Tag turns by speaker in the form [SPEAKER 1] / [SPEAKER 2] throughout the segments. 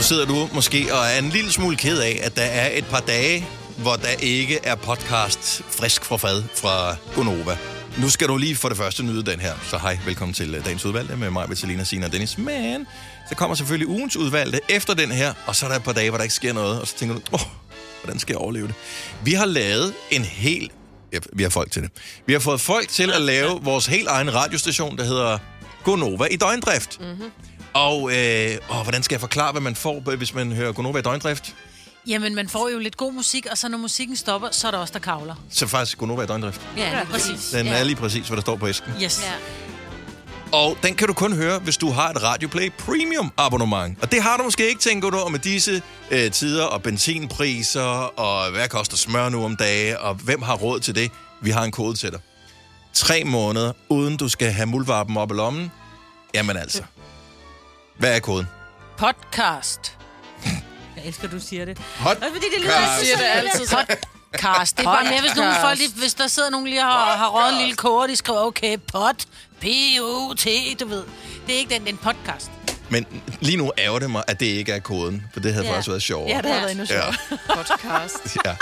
[SPEAKER 1] sidder du måske og er en lille smule ked af, at der er et par dage, hvor der ikke er podcast frisk fra fad fra Gonova. Nu skal du lige for det første nyde den her. Så hej, velkommen til øh, dagens udvalgte med mig, Vitalina, Sina og Dennis. Men så kommer selvfølgelig ugens udvalgte efter den her, og så er der et par dage, hvor der ikke sker noget, og så tænker du, åh, oh, hvordan skal jeg overleve det? Vi har lavet en hel... Ja, vi har folk til det. Vi har fået folk til at lave vores helt egen radiostation, der hedder Gonova i døgndrift. Mm-hmm. Og øh, åh, hvordan skal jeg forklare, hvad man får, hvis man hører Gonova i døgndrift?
[SPEAKER 2] Jamen, man får jo lidt god musik, og så når musikken stopper, så er der også, der kavler.
[SPEAKER 1] Så faktisk Gonova i døgndrift.
[SPEAKER 2] Ja, lige præcis.
[SPEAKER 1] Den
[SPEAKER 2] ja.
[SPEAKER 1] er lige præcis, hvad der står på æsken.
[SPEAKER 2] Yes. Ja.
[SPEAKER 1] Og den kan du kun høre, hvis du har et RadioPlay Premium abonnement. Og det har du måske ikke, tænker du, og med disse øh, tider og benzinpriser, og hvad koster smør nu om dagen, og hvem har råd til det? Vi har en kode til dig. Tre måneder, uden du skal have muldvarpen op i lommen. Jamen altså. Hvad er koden?
[SPEAKER 2] Podcast.
[SPEAKER 3] Jeg elsker, du siger det.
[SPEAKER 1] Hot.
[SPEAKER 3] Også fordi det lyder altid
[SPEAKER 4] Siger
[SPEAKER 3] sådan. altså,
[SPEAKER 4] det altid så.
[SPEAKER 2] Podcast. Det er bare mere, hvis, nogle folk,
[SPEAKER 4] Podcast.
[SPEAKER 2] lige, hvis der sidder nogen lige og har, har røget en lille kort, de skriver, okay, pot, P-O-T, du ved. Det er ikke den, den podcast.
[SPEAKER 1] Men lige nu ærger det mig, at det ikke er koden, for det havde
[SPEAKER 2] Ja.
[SPEAKER 1] faktisk været sjovt.
[SPEAKER 2] Ja, det har været endnu sjovt.
[SPEAKER 1] ja.
[SPEAKER 4] Podcast.
[SPEAKER 1] ja.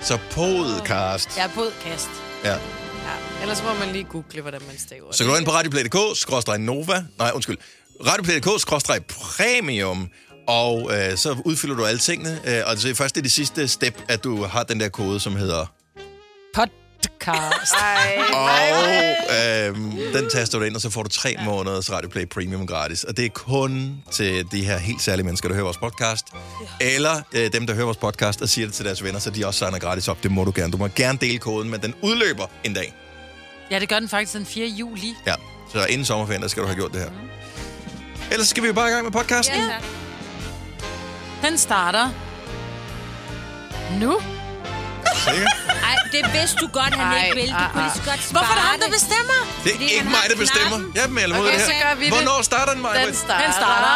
[SPEAKER 1] Så podcast.
[SPEAKER 2] Jeg er podcast.
[SPEAKER 1] Ja.
[SPEAKER 4] Ellers må man lige google, hvordan man staver det.
[SPEAKER 1] Så kan du ind på radioplay.dk, skråstrej Nova, nej undskyld, radioplay.dk, skråstrej Premium, og øh, så udfylder du alle tingene, øh, og så er først i det sidste step, at du har den der kode, som hedder,
[SPEAKER 2] Podcast.
[SPEAKER 1] og øh, den taster du ind, og så får du tre måneders Radioplay Premium gratis, og det er kun til de her helt særlige mennesker, der hører vores podcast, eller øh, dem, der hører vores podcast og siger det til deres venner, så de også signer gratis op, det må du gerne, du må gerne dele koden, men den udløber en dag.
[SPEAKER 2] Ja, det gør den faktisk den 4. juli.
[SPEAKER 1] Ja, så inden sommerferien, der skal du have gjort det her. Ellers skal vi jo bare i gang med podcasten.
[SPEAKER 3] Ja.
[SPEAKER 2] Den starter nu.
[SPEAKER 1] Sikker?
[SPEAKER 3] Ej, det vidste du godt, han
[SPEAKER 4] Ej,
[SPEAKER 3] ikke vil. Du
[SPEAKER 4] ah,
[SPEAKER 3] kunne
[SPEAKER 4] ah.
[SPEAKER 3] lige så godt spare
[SPEAKER 2] Hvorfor er det ham, der
[SPEAKER 3] det.
[SPEAKER 2] bestemmer?
[SPEAKER 1] Det er
[SPEAKER 3] Fordi
[SPEAKER 1] ikke
[SPEAKER 3] han
[SPEAKER 1] mig,
[SPEAKER 3] har
[SPEAKER 1] der bestemmer.
[SPEAKER 3] knappen.
[SPEAKER 1] Jeg er med eller mod
[SPEAKER 4] Okay,
[SPEAKER 1] det her.
[SPEAKER 4] så gør vi det.
[SPEAKER 1] Hvornår starter den, Maja?
[SPEAKER 4] Den starter.
[SPEAKER 2] Den starter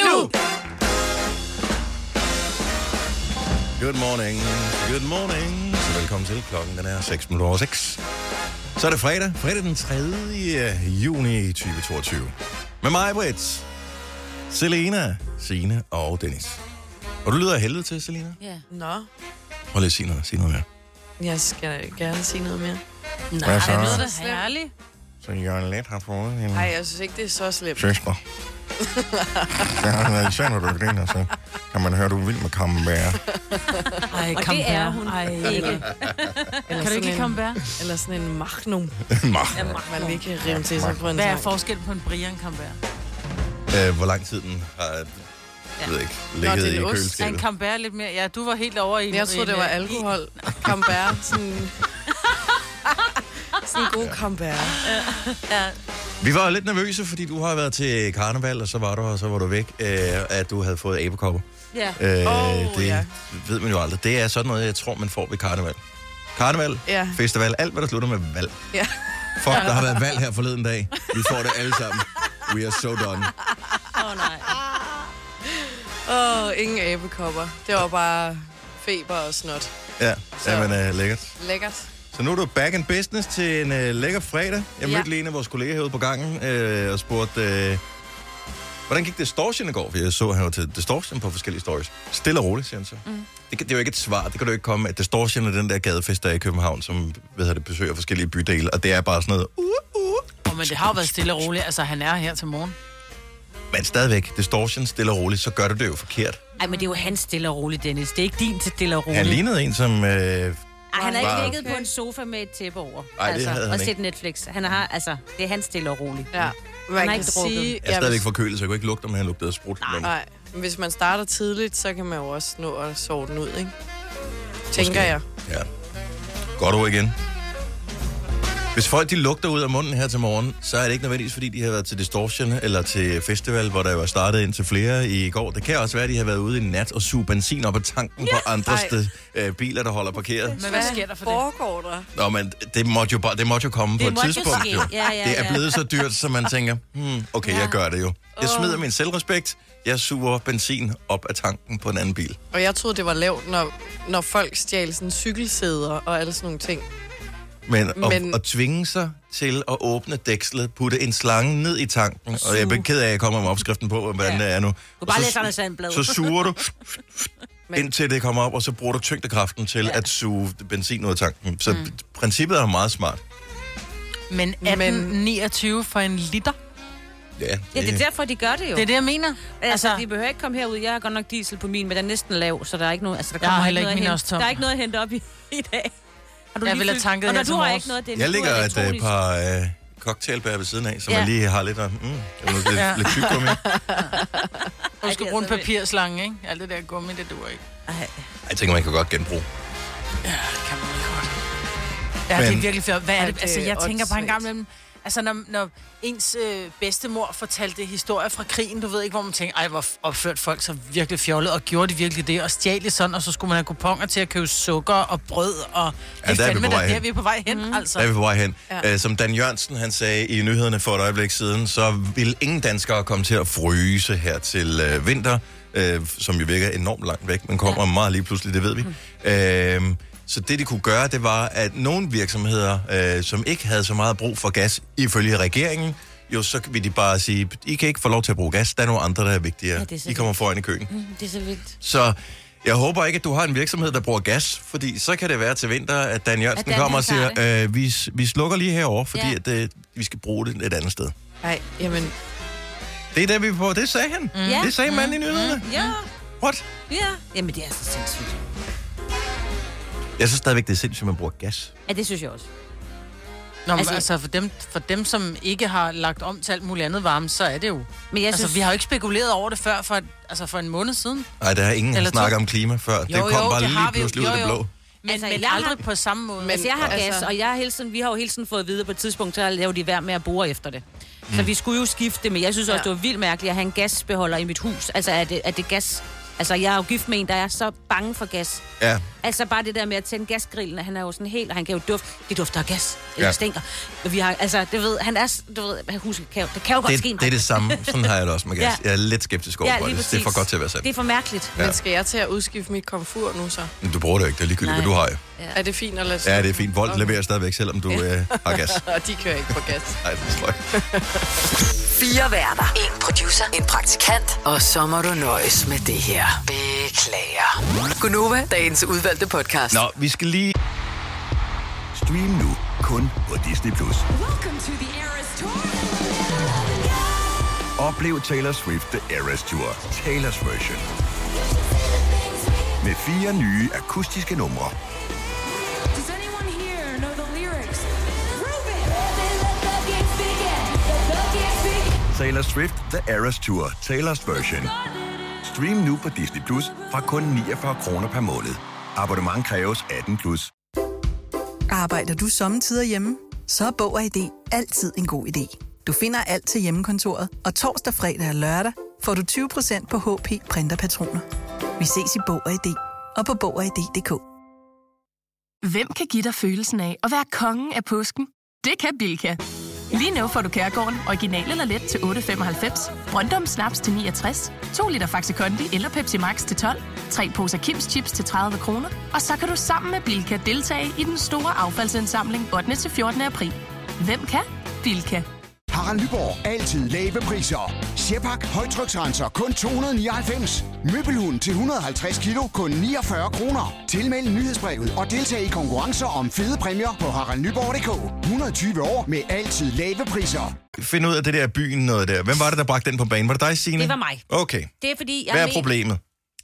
[SPEAKER 2] nu.
[SPEAKER 1] Good morning. Good morning. Så velkommen til. Klokken den er 6 minutter over 6. Så er det fredag. Fredag den 3. juni 2022. Med mig, Britt, Selena, Sine og Dennis. Og du lyder af helvede til, Selena.
[SPEAKER 2] Ja.
[SPEAKER 4] Nå,
[SPEAKER 1] Prøv lige at sige noget, sige noget mere.
[SPEAKER 4] jeg skal gerne sige noget mere.
[SPEAKER 1] Hvad
[SPEAKER 2] Nej,
[SPEAKER 1] så?
[SPEAKER 2] det lyder da herligt.
[SPEAKER 1] Så Jørgen Let har fået en
[SPEAKER 4] Nej, jeg synes ikke, det er så slemt.
[SPEAKER 1] søster. Ja, især når du griner, så kan man høre, du er vild med kammerbær.
[SPEAKER 2] Ej,
[SPEAKER 3] Og
[SPEAKER 2] kom
[SPEAKER 3] det er hun
[SPEAKER 2] Ej,
[SPEAKER 3] ikke.
[SPEAKER 4] Eller
[SPEAKER 2] Kan du ikke lige
[SPEAKER 4] sådan
[SPEAKER 2] komme
[SPEAKER 4] en,
[SPEAKER 2] bær?
[SPEAKER 4] Eller sådan en magnum,
[SPEAKER 1] Mag.
[SPEAKER 4] man lige kan rime til sig på en
[SPEAKER 2] Hvad er
[SPEAKER 4] sang.
[SPEAKER 2] forskellen på en Brian Camber?
[SPEAKER 1] øh, hvor lang tid den har jeg ved ikke,
[SPEAKER 4] Nå,
[SPEAKER 1] ligget
[SPEAKER 4] det er en
[SPEAKER 1] i
[SPEAKER 4] ost.
[SPEAKER 2] Er en
[SPEAKER 1] køleskabet.
[SPEAKER 2] Camber lidt mere... Ja, du var helt over i...
[SPEAKER 4] Men Jeg troede, det var
[SPEAKER 2] en, øh,
[SPEAKER 4] alkohol. Camber, sådan... sådan en god camber.
[SPEAKER 1] Vi var lidt nervøse, fordi du har været til karneval, og så var du her, og så var du væk, øh, at du havde fået abekopper.
[SPEAKER 2] Ja.
[SPEAKER 1] Øh,
[SPEAKER 4] Åh,
[SPEAKER 1] det
[SPEAKER 4] ja.
[SPEAKER 1] ved man jo aldrig. Det er sådan noget, jeg tror, man får ved karneval. Karneval,
[SPEAKER 4] Ja.
[SPEAKER 1] festival, alt hvad der slutter med valg.
[SPEAKER 4] Ja.
[SPEAKER 1] Fuck, der har været valg her forleden dag. Vi får det alle sammen. We are so done.
[SPEAKER 3] Åh, oh, nej.
[SPEAKER 4] Åh, oh, ingen æbekopper. Det var bare feber og snot.
[SPEAKER 1] Ja,
[SPEAKER 4] Så.
[SPEAKER 1] jamen øh, lækkert.
[SPEAKER 4] Lækkert.
[SPEAKER 1] Så nu er du back in business til en øh, lækker fredag. Jeg
[SPEAKER 4] Ja.
[SPEAKER 1] mødte lige en af vores kolleger herude på gangen øh, og spurgte, øh, hvordan gik distortion i går? For jeg så, han var til distortion på forskellige stories. Stille og roligt, siger han så. Mm. Det, kan- det er jo ikke et svar, det kan du ikke komme med. Distortion er den der gadefest, der er i København, som hvad hedder det, besøger forskellige bydele, og det er bare sådan noget, uh, uh.
[SPEAKER 2] Oh, men det har jo været stille og roligt. Altså, han er her til morgen.
[SPEAKER 1] uh, Men stadigvæk, distortion stille og roligt, så gør du det jo forkert.
[SPEAKER 3] Ej, men det er jo hans stille og roligt, Dennis. Det er ikke din til stille og roligt.
[SPEAKER 1] Han lignede en, som... Øh,
[SPEAKER 3] Ej, han har
[SPEAKER 1] Wow.
[SPEAKER 3] ikke ligget på en sofa med et tæppe over. Altså,
[SPEAKER 1] Ej, det havde han
[SPEAKER 3] og
[SPEAKER 1] ikke.
[SPEAKER 3] set Netflix. Han har, altså, det er hans stille og roligt.
[SPEAKER 4] Ja. Man
[SPEAKER 3] har
[SPEAKER 4] kan
[SPEAKER 3] ikke drukket.
[SPEAKER 4] sige...
[SPEAKER 1] jeg er
[SPEAKER 4] hvis-
[SPEAKER 1] stadigvæk forkølet, så jeg kunne ikke lugte, om han lugtede af sprut. Men-
[SPEAKER 4] Nej, men hvis man starter tidligt, så kan man jo også nå at sove den ud, ikke? Tænker
[SPEAKER 1] Måske.
[SPEAKER 4] jeg.
[SPEAKER 1] Ja. Godt ord igen. Hvis folk de lugter ud af munden her til morgen, så er det ikke nødvendigvis, fordi de har været til Distortion eller til festival, hvor der var startet ind til flere i går. Det kan også være, at de har været ude i nat og suge benzin op af tanken på andres
[SPEAKER 4] Ej.
[SPEAKER 1] de, øh, biler, der holder parkeret.
[SPEAKER 2] Men hvad sker der for det?
[SPEAKER 4] foregår der?
[SPEAKER 1] Nå, men det måtte jo, bare, det måtte jo komme på
[SPEAKER 3] Det
[SPEAKER 1] et
[SPEAKER 3] måtte jo
[SPEAKER 1] tidspunkt.
[SPEAKER 3] ske.
[SPEAKER 1] Jo.
[SPEAKER 3] Ja, ja,
[SPEAKER 1] det er
[SPEAKER 3] ja.
[SPEAKER 1] blevet så dyrt, så man tænker, hmm, okay, jeg gør det jo. Jeg smider min selvrespekt, jeg suger benzin op af tanken på en anden bil.
[SPEAKER 4] Og jeg troede, det var lavt, når, når folk stjal sådan cykelsæder og alle sådan nogle ting.
[SPEAKER 1] Men, men...
[SPEAKER 4] Men-
[SPEAKER 1] At, at tvinge sig til at åbne dækslet, putte en slange ned i tanken, og jeg er ked af, at jeg kommer med opskriften på, hvordan det er nu.
[SPEAKER 2] Du bare
[SPEAKER 1] Og så-
[SPEAKER 2] læser Anders Sandblad.
[SPEAKER 1] Så suger du, indtil det kommer op, og så bruger du tyngdekraften til ja. at suge benzin ud af tanken. Så mm. princippet er meget smart.
[SPEAKER 2] Men 1829 for en liter?
[SPEAKER 1] Ja,
[SPEAKER 3] Ja, det er derfor, de gør det jo.
[SPEAKER 2] Det er det, jeg mener.
[SPEAKER 3] Altså, altså, de behøver ikke komme herud. Jeg har godt nok diesel på min, men den er næsten lav, så der er ikke noget... Altså, der
[SPEAKER 2] Jeg
[SPEAKER 3] kommer
[SPEAKER 2] har heller
[SPEAKER 3] noget
[SPEAKER 2] ikke min
[SPEAKER 3] at
[SPEAKER 2] også
[SPEAKER 3] hente.
[SPEAKER 2] tom.
[SPEAKER 3] Der er ikke noget at hente op i, i dag. Har du
[SPEAKER 2] Jeg
[SPEAKER 3] lige
[SPEAKER 2] ville have
[SPEAKER 3] fyldt-
[SPEAKER 2] tanket
[SPEAKER 3] Og
[SPEAKER 2] her
[SPEAKER 3] når
[SPEAKER 2] til
[SPEAKER 3] du har
[SPEAKER 2] morges.
[SPEAKER 3] ikke noget, det er
[SPEAKER 1] Jeg
[SPEAKER 3] du er
[SPEAKER 1] lægger et øh,
[SPEAKER 3] elektronisk.
[SPEAKER 1] par øh, cocktailbær ved siden af, så
[SPEAKER 3] Ja.
[SPEAKER 1] man lige har lidt, af, mm, jeg må lidt,
[SPEAKER 2] Ja.
[SPEAKER 1] lidt tyk gummi.
[SPEAKER 2] Og du skal
[SPEAKER 3] Ej, det er
[SPEAKER 2] bruge en
[SPEAKER 3] så vildt.
[SPEAKER 2] papirslange, ikke? Alt det der gummi, det duer ikke.
[SPEAKER 1] Jeg tænker, man kan godt genbruge.
[SPEAKER 2] Kan man ikke godt. Ja, det er
[SPEAKER 1] Men-
[SPEAKER 2] virkelig fjollet. Hvad er
[SPEAKER 4] Ja,
[SPEAKER 2] det?
[SPEAKER 4] det
[SPEAKER 2] Altså,
[SPEAKER 4] er
[SPEAKER 2] jeg tænker bare en gang
[SPEAKER 4] åndssvagt.
[SPEAKER 2] imellem... Altså, når, når ens øh, bedstemor fortalte historier fra krigen, du ved ikke, hvor man tænker, ej, hvor f- opførte folk sig virkelig fjollet, og gjorde de virkelig det, og stjal det sådan, og så skulle man have kuponer til at købe sukker og brød, og det
[SPEAKER 1] der er vi på
[SPEAKER 2] da
[SPEAKER 1] vej
[SPEAKER 2] der,
[SPEAKER 1] hen.
[SPEAKER 2] vi er på vej hen,
[SPEAKER 3] Mhm.
[SPEAKER 2] mm. altså.
[SPEAKER 1] Der er vi på vej hen. Øh, Ja. Som Dan Jørgensen han sagde i nyhederne for et øjeblik siden, så vil ingen danskere komme til at fryse her til øh, vinter, øh, som jo virker enormt langt væk, men kommer ja. meget lige pludselig, det ved vi. Mm. Øh, så det, de kunne gøre, det var, at nogle virksomheder, øh, som ikke havde så meget brug for gas, ifølge regeringen, jo, så vil de bare sige, I kan ikke få lov til at bruge gas, der er nogle andre, der er vigtigere.
[SPEAKER 3] det
[SPEAKER 1] Ja,
[SPEAKER 3] er
[SPEAKER 1] er
[SPEAKER 3] så
[SPEAKER 1] I kommer foran i køen.
[SPEAKER 3] Mhm, Det er så vildt.
[SPEAKER 1] Så jeg håber ikke, at du har en virksomhed, der bruger gas, fordi så kan det være til vinter, at Dan Jørgensen
[SPEAKER 3] At Dan,
[SPEAKER 1] kommer og
[SPEAKER 3] han
[SPEAKER 1] siger,
[SPEAKER 3] tager
[SPEAKER 1] øh, vi, s- vi slukker lige herover, fordi ja.
[SPEAKER 3] Ja.
[SPEAKER 1] at, øh, vi skal bruge det et andet sted.
[SPEAKER 4] Nej, jamen,
[SPEAKER 1] Det er det, vi er på. Det sagde han. Mm.
[SPEAKER 3] Ja.
[SPEAKER 1] Det sagde manden i nyhederne.
[SPEAKER 3] Ja,
[SPEAKER 1] What?
[SPEAKER 3] ja. Jamen, det er så sindssygt.
[SPEAKER 1] Jeg synes stadigvæk, det er sindssygt, at man bruger gas.
[SPEAKER 3] Ja, det synes jeg også.
[SPEAKER 2] Nå, altså,
[SPEAKER 3] Altså-
[SPEAKER 2] altså for, dem, for dem, som ikke har lagt om til alt muligt andet varme, så er det jo.
[SPEAKER 3] Men jeg
[SPEAKER 2] altså,
[SPEAKER 3] synes-
[SPEAKER 2] vi har jo ikke spekuleret over det før for, altså, for en måned siden.
[SPEAKER 1] Nej, der er ingen, der
[SPEAKER 2] Eller to.
[SPEAKER 1] snakker om klima før. Jo, det kom bare lige
[SPEAKER 2] har vi jo.
[SPEAKER 1] pludselig ud af det
[SPEAKER 2] Jo, jo.
[SPEAKER 1] blå.
[SPEAKER 2] Men, altså,
[SPEAKER 3] Altså,
[SPEAKER 2] men
[SPEAKER 3] jeg har-
[SPEAKER 2] aldrig på samme måde.
[SPEAKER 4] Men-
[SPEAKER 3] Altså, jeg har
[SPEAKER 4] Altså-
[SPEAKER 3] gas, og jeg har hele tiden, vi har jo hele tiden fået at vide på et tidspunkt, så laver de værd med at bore efter det. Så
[SPEAKER 1] Mm.
[SPEAKER 3] vi skulle jo skifte det, men jeg synes også,
[SPEAKER 4] Ja.
[SPEAKER 3] det var vildt mærkeligt at have en gasbeholder i mit hus. Altså, er det, er det gas? Altså, jeg er jo gift med en, der er så bange for gas.
[SPEAKER 1] Ja.
[SPEAKER 3] Altså bare det der med at tænde gasgrillen, at han er jo sådan helt, og han kan jo dufte, det dufter af gas, eller
[SPEAKER 1] Ja.
[SPEAKER 3] ja. stinker. Vi har, altså, det ved, han er, s- du ved, husk, kan jo, det kan jo godt
[SPEAKER 1] Det,
[SPEAKER 3] ske. mig.
[SPEAKER 1] det er det samme. Sådan har jeg det også med gas.
[SPEAKER 3] Ja.
[SPEAKER 1] Jeg er lidt skeptisk over for
[SPEAKER 3] lige
[SPEAKER 1] det. Det er for
[SPEAKER 3] præcis.
[SPEAKER 1] godt til at være sandt.
[SPEAKER 3] Det er for mærkeligt.
[SPEAKER 4] men skal jeg til at udskifte mit komfur nu så?
[SPEAKER 1] Men Du bruger det jo ikke. Det er ligegyldigt, hvad du
[SPEAKER 3] Nej.
[SPEAKER 1] har jo.
[SPEAKER 4] Ja. Er det fint at lade stå?
[SPEAKER 1] Ja, det er fint. Vold leverer stadigvæk, selvom du øh, har gas.
[SPEAKER 4] Og de kører ikke på gas.
[SPEAKER 1] Nej, det er sløjt.
[SPEAKER 5] Fire værter. En producer. En praktikant. Og så må du nøjes med det her. Beklager. Gunova, dagens udvalgte podcast.
[SPEAKER 1] Nå, vi skal lige...
[SPEAKER 6] Stream nu kun på Disney+. Plus. Oplev Taylor Swift The Eras Tour, Taylor's version. Med fire nye akustiske numre.
[SPEAKER 7] Does anyone here know the lyrics? Prove it! Let the games begin. Let the games begin.
[SPEAKER 6] Taylor Swift The Eras Tour, Taylor's version. Stream nu på Disney Plus fra kun 49 kroner per måned. Abonnement kræves 18 plus.
[SPEAKER 8] Arbejder du sommetider hjemme? Så er Bog og ID altid en god idé. Du finder alt til hjemmekontoret, og torsdag, fredag og lørdag får du 20% på HP Printerpatroner. Vi ses i Bog og ID og på Bog og ID.dk.
[SPEAKER 9] Hvem kan give dig følelsen af at være kongen af påsken? Det kan Bilka! Lige nu får du Kærgården original eller let til 8.95, Brøndum Snaps til 69, 2 liter Faxi Kondi eller Pepsi Max til 12, 3 poser Kims Chips til 30 kroner, og så kan du sammen med Bilka deltage i den store affaldsindsamling 8. til 14. april. Hvem kan? Bilka.
[SPEAKER 10] Harald Nyborg. Altid lave priser. Sjehpak. Højtryksrenser. Kun 299. Møbelhund til 150 kilo. Kun 49 kroner. Tilmeld nyhedsbrevet og deltag i konkurrencer om fede præmier på haraldnyborg.dk. 120 år med altid lave priser.
[SPEAKER 1] finde ud af det der byen noget der. Hvem var det, der bragte den på banen? Var det dig, Signe?
[SPEAKER 3] Det var mig.
[SPEAKER 1] Okay.
[SPEAKER 3] Det er fordi, jeg,
[SPEAKER 1] Hvad er
[SPEAKER 3] men-
[SPEAKER 1] problemet?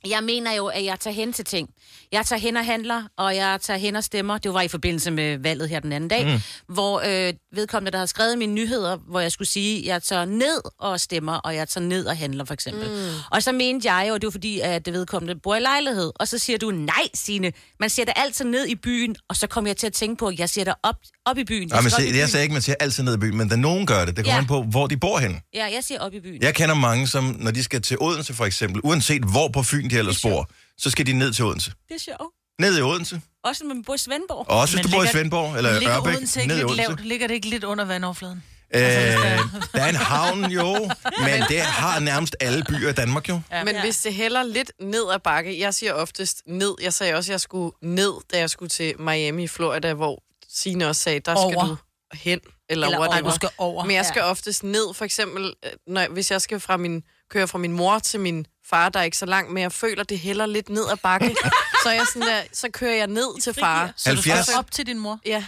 [SPEAKER 3] jeg mener jo, at jeg tager hen til ting. Jeg tager hen og handler, og jeg tager hen og stemmer. Det var i forbindelse med valget her den anden dag, mm. hvor øh, vedkommende, der havde skrevet mine nyheder, hvor jeg skulle sige, at jeg tager ned og stemmer, og jeg tager ned og handler for eksempel. Mm. Og så mente jeg jo, og det var fordi, at det vedkommende bor i lejlighed, og så siger du, nej Signe, man ser det altid ned i byen, og så kom jeg til at tænke på, at jeg ser det op, op i byen.
[SPEAKER 1] Jeg, men,
[SPEAKER 3] skal op i
[SPEAKER 1] se, jeg
[SPEAKER 3] byen.
[SPEAKER 1] sagde ikke, man siger altid ned i byen, men da nogen gør det, det kommer
[SPEAKER 3] Ja.
[SPEAKER 1] an på, hvor de bor henne.
[SPEAKER 3] Ja, jeg siger op i byen.
[SPEAKER 1] Jeg kender mange, som når de skal til Odense for eksempel, uanset hvor på Fyn de ellers bor, så skal de ned til Odense.
[SPEAKER 3] Det er sjovt.
[SPEAKER 1] Ned i Odense.
[SPEAKER 3] Også når man bor i Svendborg.
[SPEAKER 1] Og også hvis
[SPEAKER 2] Men
[SPEAKER 1] du bor i
[SPEAKER 2] ligger-
[SPEAKER 1] Svendborg eller
[SPEAKER 2] ligger,
[SPEAKER 1] Ørbæk,
[SPEAKER 2] Odense ikke
[SPEAKER 1] ned i
[SPEAKER 2] lidt
[SPEAKER 1] Odense.
[SPEAKER 2] lavt, ligger det ikke lidt under vandoverfladen?
[SPEAKER 1] Øh,
[SPEAKER 3] Altså,
[SPEAKER 1] der er en havn jo, men det har nærmest alle byer i Danmark jo.
[SPEAKER 4] Ja. Men hvis det hælder lidt ned ad bakke, jeg siger oftest ned, jeg sagde også, at jeg skulle ned, da jeg skulle til Miami i Florida, hvor Signe også sagde, der skal
[SPEAKER 2] Over.
[SPEAKER 4] du hen, eller,
[SPEAKER 2] Eller
[SPEAKER 4] eller
[SPEAKER 2] over.
[SPEAKER 4] whatever.
[SPEAKER 2] Nej, du skal over.
[SPEAKER 4] Men jeg skal
[SPEAKER 2] Ja.
[SPEAKER 4] oftest ned, for eksempel, øh, når, jeg- hvis jeg skal fra min, køre fra min mor til min far, der er ikke så langt, men jeg føler, det hælder lidt ned ad bakke, så, er jeg sådan der, så kører jeg ned til far.
[SPEAKER 2] Så du skal
[SPEAKER 1] 70.
[SPEAKER 2] op til din mor?
[SPEAKER 4] Ja.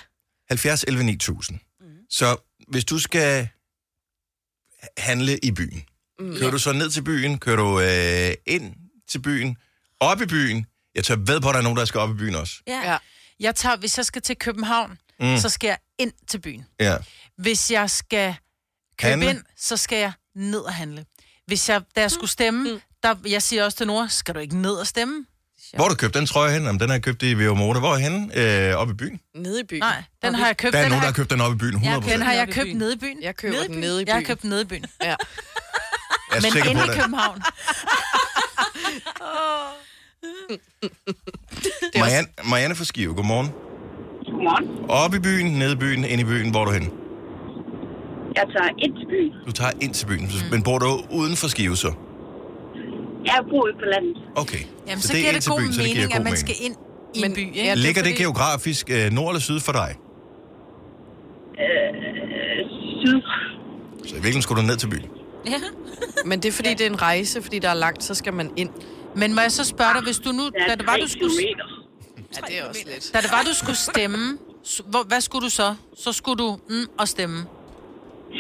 [SPEAKER 1] 70 11 9000. Mm.
[SPEAKER 2] Mhm.
[SPEAKER 1] Så hvis du skal handle i byen,
[SPEAKER 4] Mm.
[SPEAKER 1] mm. kører du så ned til byen, kører du øh, ind til byen, op i byen. Jeg tør ved på, at der er nogen, der skal op i byen også.
[SPEAKER 2] Ja. ja. Jeg tager, hvis jeg skal til København,
[SPEAKER 1] Mm.
[SPEAKER 2] mm. så skal jeg ind til byen.
[SPEAKER 1] Ja.
[SPEAKER 2] Hvis jeg skal købe
[SPEAKER 1] Handle.
[SPEAKER 2] handle. ind, så skal jeg ned og handle. Hvis jeg, da jeg skulle stemme, mm. der, jeg siger også til Nora, skal du ikke ned og stemme?
[SPEAKER 1] Hvor har du købt den trøje hen? Jamen, den har jeg købt i Vio Motor. Hvor er henne? Øh, op i byen?
[SPEAKER 4] Nede i byen.
[SPEAKER 2] Nej, den har jeg købt.
[SPEAKER 1] der er
[SPEAKER 2] den
[SPEAKER 1] nogen,
[SPEAKER 2] har
[SPEAKER 1] der har købt den op i byen, 100%.
[SPEAKER 2] jeg, den har jeg
[SPEAKER 4] Nede i
[SPEAKER 2] købt
[SPEAKER 4] byen.
[SPEAKER 2] nede i byen.
[SPEAKER 4] Jeg køber den nede i
[SPEAKER 2] Jeg har
[SPEAKER 4] byen.
[SPEAKER 2] købt den nede i byen.
[SPEAKER 4] Ja.
[SPEAKER 1] Jeg er
[SPEAKER 2] Men
[SPEAKER 1] sikker
[SPEAKER 2] inde
[SPEAKER 1] på,
[SPEAKER 2] i
[SPEAKER 1] at-
[SPEAKER 2] København.
[SPEAKER 1] Marianne, Marianne fra Skive, godmorgen. Godmorgen. Op i byen, ned i byen, ind i byen. Hvor er du hen?
[SPEAKER 11] Jeg tager ind til byen.
[SPEAKER 1] Du tager ind til byen, mm. men bor du uden for Skive så?
[SPEAKER 11] Jeg bor ude på landet.
[SPEAKER 1] Okay.
[SPEAKER 2] Jamen,
[SPEAKER 1] Så
[SPEAKER 2] så,
[SPEAKER 1] det er
[SPEAKER 2] giver
[SPEAKER 1] ind
[SPEAKER 2] det
[SPEAKER 1] til
[SPEAKER 2] god
[SPEAKER 1] byen, så det giver
[SPEAKER 2] mening,
[SPEAKER 1] god
[SPEAKER 2] at man skal
[SPEAKER 1] mening.
[SPEAKER 2] ind i en by. Ikke?
[SPEAKER 1] Ja, Ligger det, geografisk øh, nord eller syd for dig?
[SPEAKER 11] Øh, syd.
[SPEAKER 1] Så i virkeligheden skulle du ned til byen.
[SPEAKER 3] Ja.
[SPEAKER 4] Men det er, fordi det er en rejse, fordi der er langt, så skal man ind.
[SPEAKER 2] Men må jeg så spørge
[SPEAKER 4] Ah.
[SPEAKER 2] dig, hvis du nu... Da det var, du skulle,
[SPEAKER 4] Ja, det er også lidt.
[SPEAKER 2] da det var, du skulle stemme, s- hvor, hvad skulle du så? Så skulle du mm, og stemme.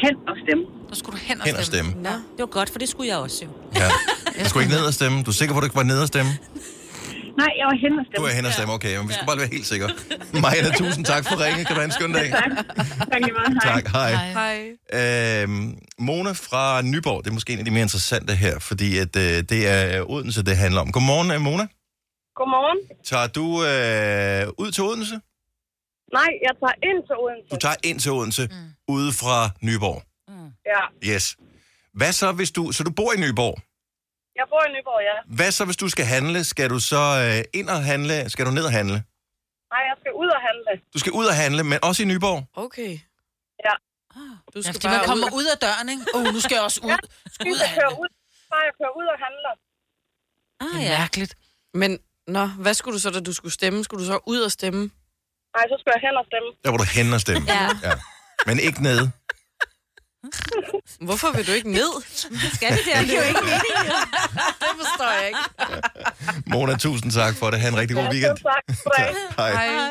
[SPEAKER 11] Hen og stemme.
[SPEAKER 2] Så skulle du hen og
[SPEAKER 1] Hen og
[SPEAKER 2] stemme.
[SPEAKER 1] stemme.
[SPEAKER 3] Nå, det var godt, for det skulle jeg også jo.
[SPEAKER 1] Ja. Du skulle ikke ned og stemme. Du er sikker på, at du ikke var ned og stemme?
[SPEAKER 11] Nej, jeg var hen og
[SPEAKER 1] Du
[SPEAKER 11] stemme.
[SPEAKER 1] er hen og stemme, okay. Men vi skal bare lige være helt sikre. Maja, tusind tak for ringen. Kan du have en skøn dag?
[SPEAKER 11] Tak. Tak lige meget. Hej.
[SPEAKER 1] Tak, hej.
[SPEAKER 4] Hej.
[SPEAKER 1] Øhm, Mona fra Nyborg, det er måske en af de mere interessante her, fordi at, øh, det er Odense, det handler om. Godmorgen, øh, Mona.
[SPEAKER 12] Godmorgen.
[SPEAKER 1] Tager du øh, ud til Odense?
[SPEAKER 12] Nej, jeg tager ind til Odense.
[SPEAKER 1] Du tager ind til Odense, mm. ude fra Nyborg.
[SPEAKER 12] Ja.
[SPEAKER 1] Yes. Hvad så, hvis du... Så du bor i Nyborg.
[SPEAKER 12] Jeg bor i Nyborg, ja.
[SPEAKER 1] Hvad så, hvis du skal handle? Skal du så øh, ind og handle? Skal du ned og handle?
[SPEAKER 12] Nej, jeg skal ud og handle.
[SPEAKER 1] Du skal ud og handle, men også i Nyborg.
[SPEAKER 4] Okay.
[SPEAKER 12] Ja.
[SPEAKER 4] Du
[SPEAKER 2] Ah. Ja, fordi man kommer ud af døren, ikke? Åh, oh, nu skal jeg også ud. Skal ud
[SPEAKER 12] Jeg kører ud, bare jeg kører ud og handler.
[SPEAKER 3] Ah,
[SPEAKER 4] ja.
[SPEAKER 2] Mærkeligt.
[SPEAKER 4] Men, nå, hvad skulle du så, da du skulle stemme? Skulle du så ud og stemme?
[SPEAKER 12] Nej, så skal jeg hen og stemme.
[SPEAKER 1] Der hvor du hen og stemme.
[SPEAKER 4] Ja.
[SPEAKER 1] ja. Men ikke ned.
[SPEAKER 4] Hvorfor vil du ikke ned?
[SPEAKER 3] Skal det der?
[SPEAKER 4] Det er jo ikke meningen. Det forstår jeg ikke.
[SPEAKER 1] Mona, tusind tak for det. Ha' en rigtig god weekend.
[SPEAKER 12] Tak.
[SPEAKER 1] Tak. Hej.
[SPEAKER 4] Hej.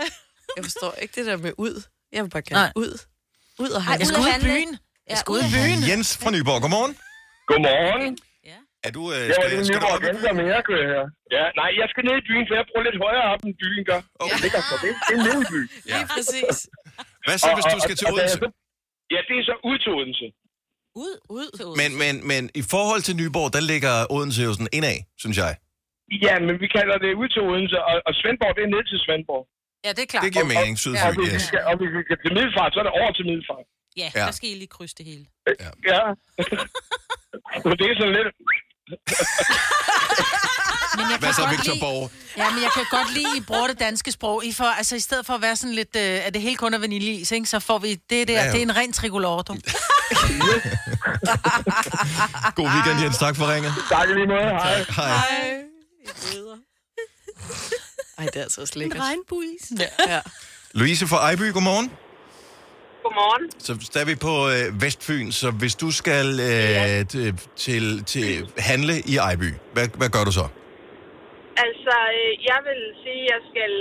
[SPEAKER 4] Jeg forstår ikke det der med ud. Jeg vil bare gerne
[SPEAKER 2] Nej.
[SPEAKER 4] ud. Ud og
[SPEAKER 2] Ej,
[SPEAKER 4] handle.
[SPEAKER 2] jeg skal ud i byen. Jeg skal ud i byen.
[SPEAKER 1] Jens fra Nyborg, godmorgen.
[SPEAKER 13] Godmorgen.
[SPEAKER 1] Er du... Øh,
[SPEAKER 13] Jeg var
[SPEAKER 1] skal,
[SPEAKER 13] lige
[SPEAKER 1] skal
[SPEAKER 13] nede
[SPEAKER 1] du
[SPEAKER 13] på
[SPEAKER 1] op i
[SPEAKER 13] agenter, men jeg kører her. Ja, nej, jeg skal ned i byen, for jeg bruger lidt højere op, end byen gør. Okay. Det, ligger så, det, det er nede i byen.
[SPEAKER 4] Lige præcis.
[SPEAKER 1] Hvad så, hvis du skal til
[SPEAKER 13] og da jeg
[SPEAKER 1] Odense?
[SPEAKER 13] så- Ja, det er så ud til Odense.
[SPEAKER 3] Ud, ud.
[SPEAKER 1] Men, men, men i forhold til Nyborg, der ligger Odense jo sådan indad, synes jeg.
[SPEAKER 13] Ja, men vi kalder det ud til Odense, og, og Svendborg, det er ned til Svendborg.
[SPEAKER 2] Ja, det er klart.
[SPEAKER 1] Det giver mening,
[SPEAKER 13] Ja, og,
[SPEAKER 1] Sydfyn,
[SPEAKER 13] hvis vi
[SPEAKER 1] yes.
[SPEAKER 13] skal, og hvis vi skal til Middelfart, så er det over til Middelfart. Øh,
[SPEAKER 3] Ja,
[SPEAKER 1] Ja.
[SPEAKER 3] der skal I lige krydse det hele.
[SPEAKER 13] Ja. Men det er sådan lidt...
[SPEAKER 2] Men jeg
[SPEAKER 1] Hvad
[SPEAKER 2] kan
[SPEAKER 1] så,
[SPEAKER 2] godt
[SPEAKER 1] Victor
[SPEAKER 2] lide-
[SPEAKER 1] Borg?
[SPEAKER 2] Ja, men jeg kan godt lide, I bruger det danske sprog. I får, altså, i stedet for at være sådan lidt, øh, at det hele kun er vaniljeis, ikke, så får vi det der.
[SPEAKER 1] Ja,
[SPEAKER 2] Ja,
[SPEAKER 1] ja.
[SPEAKER 2] Det er en ren tricolore, du.
[SPEAKER 1] God weekend, Jens. Tak for ringet.
[SPEAKER 13] Tak i lige måde. Hej.
[SPEAKER 1] Tak. Hej.
[SPEAKER 4] Ej, det er altså også lækkert.
[SPEAKER 3] regnbuis.
[SPEAKER 4] Ja. ja.
[SPEAKER 1] Louise fra Ejby, godmorgen.
[SPEAKER 12] Godmorgen.
[SPEAKER 1] Så der er vi på øh, Vestfyn, så hvis du skal øh, til, til, til handle i Ejby, hvad, hvad gør du så?
[SPEAKER 12] Altså, øh, jeg vil sige, at jeg skal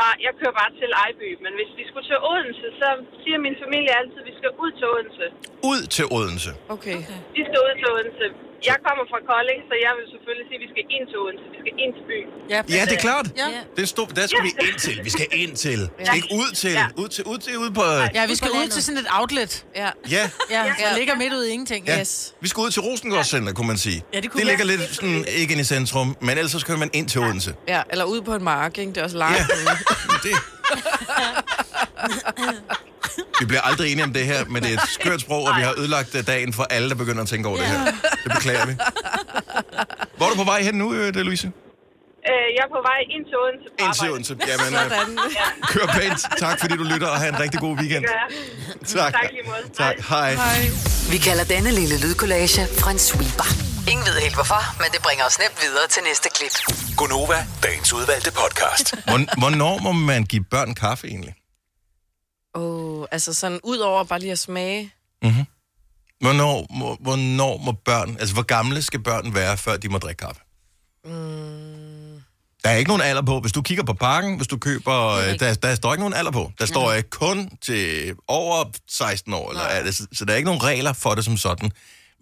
[SPEAKER 12] bare, jeg kører bare til Ejby, men hvis vi skulle til Odense, så siger min familie altid, at vi skal ud til Odense.
[SPEAKER 1] Ud til Odense.
[SPEAKER 4] Okay.
[SPEAKER 12] Vi skal ud til Odense. Jeg kommer fra Kolding, så jeg vil selvfølgelig sige, at vi skal ind til Odense. Vi skal ind til byen.
[SPEAKER 1] Ja, det er klart.
[SPEAKER 2] Ja.
[SPEAKER 1] Det stod, der skal vi ind til. Vi skal ind til.
[SPEAKER 12] Ja.
[SPEAKER 1] Ikke ud til.
[SPEAKER 12] Ja.
[SPEAKER 1] Ud til, ud til, ud på... øh,
[SPEAKER 2] Ja, vi skal ud til sådan et outlet.
[SPEAKER 4] Ja.
[SPEAKER 1] Ja.
[SPEAKER 2] Ja, der ligger midt ud i ingenting.
[SPEAKER 1] Ja. Vi skal ud til Rosengård Center, kunne man sige.
[SPEAKER 2] Ja, det kunne
[SPEAKER 1] det
[SPEAKER 2] vi.
[SPEAKER 1] ligger lidt sådan, ikke inde i centrum, men ellers så skal man ind til Odense.
[SPEAKER 4] ja. eller ud på en mark, ikke? Det er også langt. Ja.
[SPEAKER 1] Det. Vi bliver aldrig enige om det her, men det er et skørt sprog, og vi har ødelagt øh, dagen for alle, der begynder at tænke over det her. Det beklager vi. Hvor er du på vej hen nu, øh, det, Louise?
[SPEAKER 12] Øh, jeg er på vej ind til Odense. på
[SPEAKER 1] Ind til
[SPEAKER 12] arbejde.
[SPEAKER 1] Odense. Jamen, øh, kør pænt. Tak fordi du lytter, og have en rigtig god weekend.
[SPEAKER 12] Ja.
[SPEAKER 1] Tak.
[SPEAKER 12] Tak lige måde.
[SPEAKER 1] Tak. Hej.
[SPEAKER 5] Vi kalder denne lille lydkollage Frans sweeper. Ingen ved helt hvorfor, men det bringer os nemt videre til næste klip.
[SPEAKER 14] Gonova, dagens udvalgte podcast.
[SPEAKER 1] Hvorn- Hvornår må man give børn kaffe egentlig?
[SPEAKER 4] altså sådan ud over bare lige at smage.
[SPEAKER 1] Mm-hmm. Hvornår, må, hvornår må børn, altså hvor gamle skal børn være, før de må drikke kaffe? Mm. Der er ikke nogen alder på. Hvis du kigger på pakken, hvis du køber, øh, der, der står ikke nogen alder på. Der står øh, kun til over 16 år, eller, er det- så, så der er ikke nogen regler for det som sådan.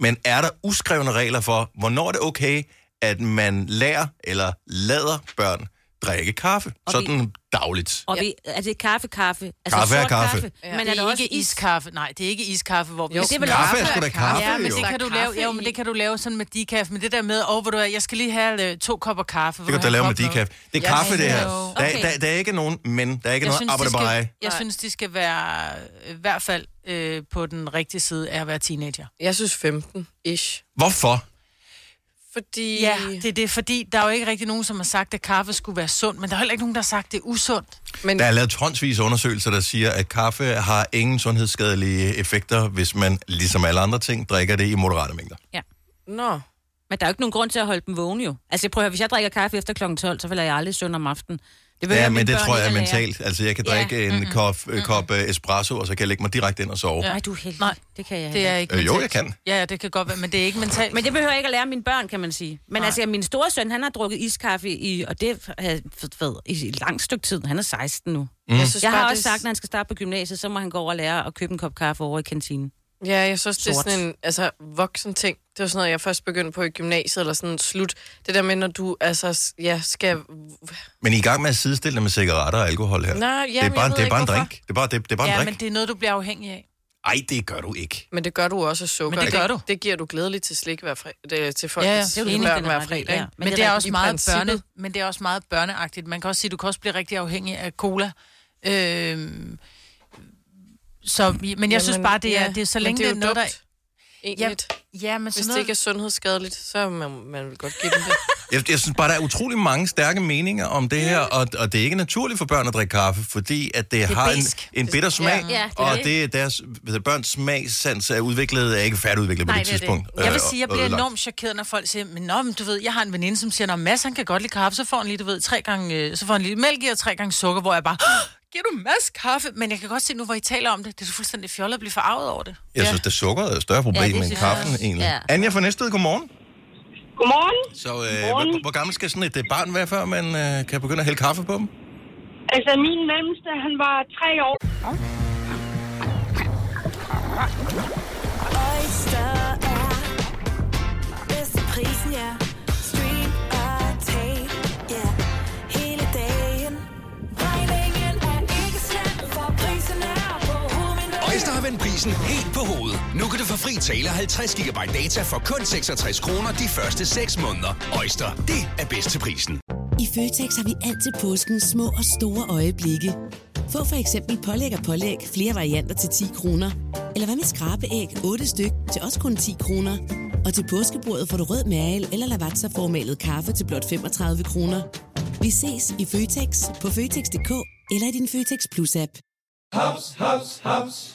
[SPEAKER 1] Men er der uskrevne regler for, hvornår er det okay, at man lærer eller lader børn drikke kaffe?
[SPEAKER 3] Og vi-
[SPEAKER 1] sådan dagligt.
[SPEAKER 3] Og vi, er det kaffe-kaffe?
[SPEAKER 1] Kaffe er
[SPEAKER 3] sort
[SPEAKER 1] kaffe.
[SPEAKER 2] Ja. Men er det
[SPEAKER 3] også
[SPEAKER 2] ikke iskaffe? Nej, det er ikke iskaffe, hvor vi...
[SPEAKER 3] Jo, det er vel Kaffe er også- sgu da kaffe,
[SPEAKER 2] Ja, men
[SPEAKER 1] jo.
[SPEAKER 2] det kan du
[SPEAKER 3] Der er
[SPEAKER 2] lave, jo,
[SPEAKER 3] kaffe
[SPEAKER 2] men det kan du lave sådan med decaf. Men det der med, over, hvor du er, jeg skal lige have øh, to kopper kaffe.
[SPEAKER 1] Det kan du da lave med decaf. Det er kaffe, det her. Der,
[SPEAKER 2] Okay.
[SPEAKER 1] der, der er ikke nogen men, der er ikke
[SPEAKER 2] jeg
[SPEAKER 1] noget
[SPEAKER 2] synes, de
[SPEAKER 1] arbejde bare
[SPEAKER 2] skal, jeg synes, de skal være øh, i hvert fald øh, på den rigtige side af at være teenager.
[SPEAKER 4] Jeg synes 15-ish.
[SPEAKER 1] Hvorfor?
[SPEAKER 4] Fordi...
[SPEAKER 2] Ja, det er det, fordi der er jo ikke rigtig nogen, som har sagt, at kaffe skulle være sundt, men der er heller ikke nogen, der har sagt, det er usundt.
[SPEAKER 1] Men... Der er lavet tonsvis af undersøgelser, der siger, at kaffe har ingen sundhedsskadelige effekter, hvis man, ligesom alle andre ting, drikker det i moderate mængder.
[SPEAKER 3] Ja.
[SPEAKER 4] Nå.
[SPEAKER 3] Men der er jo ikke nogen grund til at holde dem vågne jo. Altså prøv at høre, hvis jeg drikker kaffe efter kl. 12, så falder jeg aldrig i søvn om aftenen. Det behøver
[SPEAKER 1] ja, men
[SPEAKER 3] mine
[SPEAKER 1] det
[SPEAKER 3] børn
[SPEAKER 1] tror
[SPEAKER 3] ikke
[SPEAKER 1] jeg er
[SPEAKER 3] at lære.
[SPEAKER 1] mentalt. Altså, jeg kan
[SPEAKER 3] Ja,
[SPEAKER 1] drikke en
[SPEAKER 3] mm-mm.
[SPEAKER 1] kop, øh, kop øh, espresso, og så kan jeg lægge mig direkte ind og sove.
[SPEAKER 3] Nej, du er heldig. Nej, det kan jeg
[SPEAKER 2] Det er ikke
[SPEAKER 1] Øh, jo,
[SPEAKER 2] mentalt.
[SPEAKER 1] jeg kan.
[SPEAKER 2] Ja, ja, det kan godt være, men det er ikke mentalt.
[SPEAKER 3] Men det behøver jeg ikke at lære mine børn, kan man sige. Men Nej. altså, min store søn, han har drukket iskaffe i, og det har ved, i et langt stykke tid. Han er 16 nu.
[SPEAKER 4] Mm.
[SPEAKER 3] Jeg,
[SPEAKER 4] Jeg
[SPEAKER 3] synes,
[SPEAKER 4] synes
[SPEAKER 3] jeg har
[SPEAKER 4] bare,
[SPEAKER 3] også
[SPEAKER 4] det-
[SPEAKER 3] sagt, når han skal starte på gymnasiet, så må han gå over og lære at købe en kop kaffe over i kantinen.
[SPEAKER 4] Ja, jeg synes, det er
[SPEAKER 3] Sort.
[SPEAKER 4] sådan en altså, voksen ting. Det var sådan noget, jeg først begyndte på i gymnasiet, eller sådan slut. Det der med, når du altså, s- ja, skal...
[SPEAKER 1] Men I er i gang med at sidestille det med cigaretter og alkohol her.
[SPEAKER 4] Nå, ja,
[SPEAKER 1] det er
[SPEAKER 4] men
[SPEAKER 1] bare,
[SPEAKER 4] jeg
[SPEAKER 1] en-
[SPEAKER 4] ved
[SPEAKER 1] det er
[SPEAKER 4] ikke,
[SPEAKER 1] bare en
[SPEAKER 4] hvorfor.
[SPEAKER 1] drink. Det er bare, det, det er bare en
[SPEAKER 2] ja,
[SPEAKER 1] drink.
[SPEAKER 2] men det er noget, du bliver afhængig af.
[SPEAKER 1] Ej, det gør du ikke.
[SPEAKER 4] Men det gør du også af sukker.
[SPEAKER 2] Men det gør du.
[SPEAKER 4] Det, det giver du glædeligt til slik hver fredag. Det, til folk,
[SPEAKER 2] Ja, ja,
[SPEAKER 4] til
[SPEAKER 2] det er jo
[SPEAKER 4] sine
[SPEAKER 2] enig,
[SPEAKER 4] børn
[SPEAKER 2] den
[SPEAKER 4] hver
[SPEAKER 2] har ret i,
[SPEAKER 4] fredag.
[SPEAKER 2] ja.
[SPEAKER 4] ikke?
[SPEAKER 2] Men, det er,
[SPEAKER 4] rigtigt.
[SPEAKER 2] også
[SPEAKER 4] I
[SPEAKER 2] meget
[SPEAKER 4] princippet-
[SPEAKER 2] børne, men det er også meget børneagtigt. Man kan også sige, at du kan også blive rigtig afhængig af cola. Øhm, så, men jeg Jamen, synes bare, det er,
[SPEAKER 4] ja,
[SPEAKER 2] det er så
[SPEAKER 4] men
[SPEAKER 2] længe det er,
[SPEAKER 4] jo
[SPEAKER 2] det er noget,
[SPEAKER 4] dumt,
[SPEAKER 2] der...
[SPEAKER 4] Egentlig.
[SPEAKER 2] Ja, ja, men
[SPEAKER 4] Hvis
[SPEAKER 2] sådan
[SPEAKER 4] det
[SPEAKER 2] noget...
[SPEAKER 4] ikke er sundhedsskadeligt, så er man, man vil godt give dem det.
[SPEAKER 1] Jeg, jeg synes bare, der er utrolig mange stærke meninger om det her, og, og det er ikke naturligt for børn at drikke kaffe, fordi at det,
[SPEAKER 4] er
[SPEAKER 1] har en,
[SPEAKER 4] besk.
[SPEAKER 1] en bitter smag,
[SPEAKER 2] Ja, det er
[SPEAKER 1] og
[SPEAKER 2] det.
[SPEAKER 1] det er deres hvad børns smagssans er udviklet, er ikke færdigudviklet på det, tidspunkt.
[SPEAKER 2] Jeg vil sige, jeg
[SPEAKER 1] øh, og- og
[SPEAKER 2] bliver
[SPEAKER 1] ødelagt.
[SPEAKER 2] enormt chokeret, når folk siger, men, nå, men du ved, jeg har en veninde, som siger, når Mads, han kan godt lide kaffe, så får han lige, du ved, tre gange, øh, så får han lige mælk i og tre gange sukker, hvor jeg bare, "Åh, giver du Mads kaffe? Men jeg kan godt se nu, hvor I taler om det, det er så fuldstændig fjollet at blive forarvet over det.
[SPEAKER 1] Jeg synes, det er sukkeret er et større problem
[SPEAKER 2] Ja, det
[SPEAKER 1] ja, end
[SPEAKER 2] synes jeg
[SPEAKER 1] kaffen
[SPEAKER 2] også.
[SPEAKER 1] egentlig.
[SPEAKER 2] Ja.
[SPEAKER 1] Ja. Anja fra Næstved, godmorgen.
[SPEAKER 11] Godmorgen.
[SPEAKER 1] Så øh,
[SPEAKER 11] Godmorgen.
[SPEAKER 1] hvor, hvor gammel skal sådan et øh, barn være, før man øh, kan begynde at hælde kaffe på dem?
[SPEAKER 11] Altså, min nemmeste, han var tre år.
[SPEAKER 7] Oyster er bedst til prisen, ja. Stream og tag, ja. Hele dagen. Regningen er ikke slem, for prisen er på hovedet.
[SPEAKER 14] Øjster har vendt prisen helt på hovedet. Nu kan du få fri tale 50 GB data for kun 66 kroner de første 6 måneder. Øjster, det er bedst til prisen.
[SPEAKER 15] I Føtex har vi altid påsken små og store øjeblikke. Få for eksempel pålæg og pålæg flere varianter til 10 kroner. Eller hvad med skrabeæg 8 styk til også kun 10 kroner. Og til påskebordet får du rød mal eller lavatserformalet kaffe til blot 35 kroner. Vi ses i Føtex på Føtex.dk eller i din Føtex Plus-app.
[SPEAKER 16] Haps, haps, haps.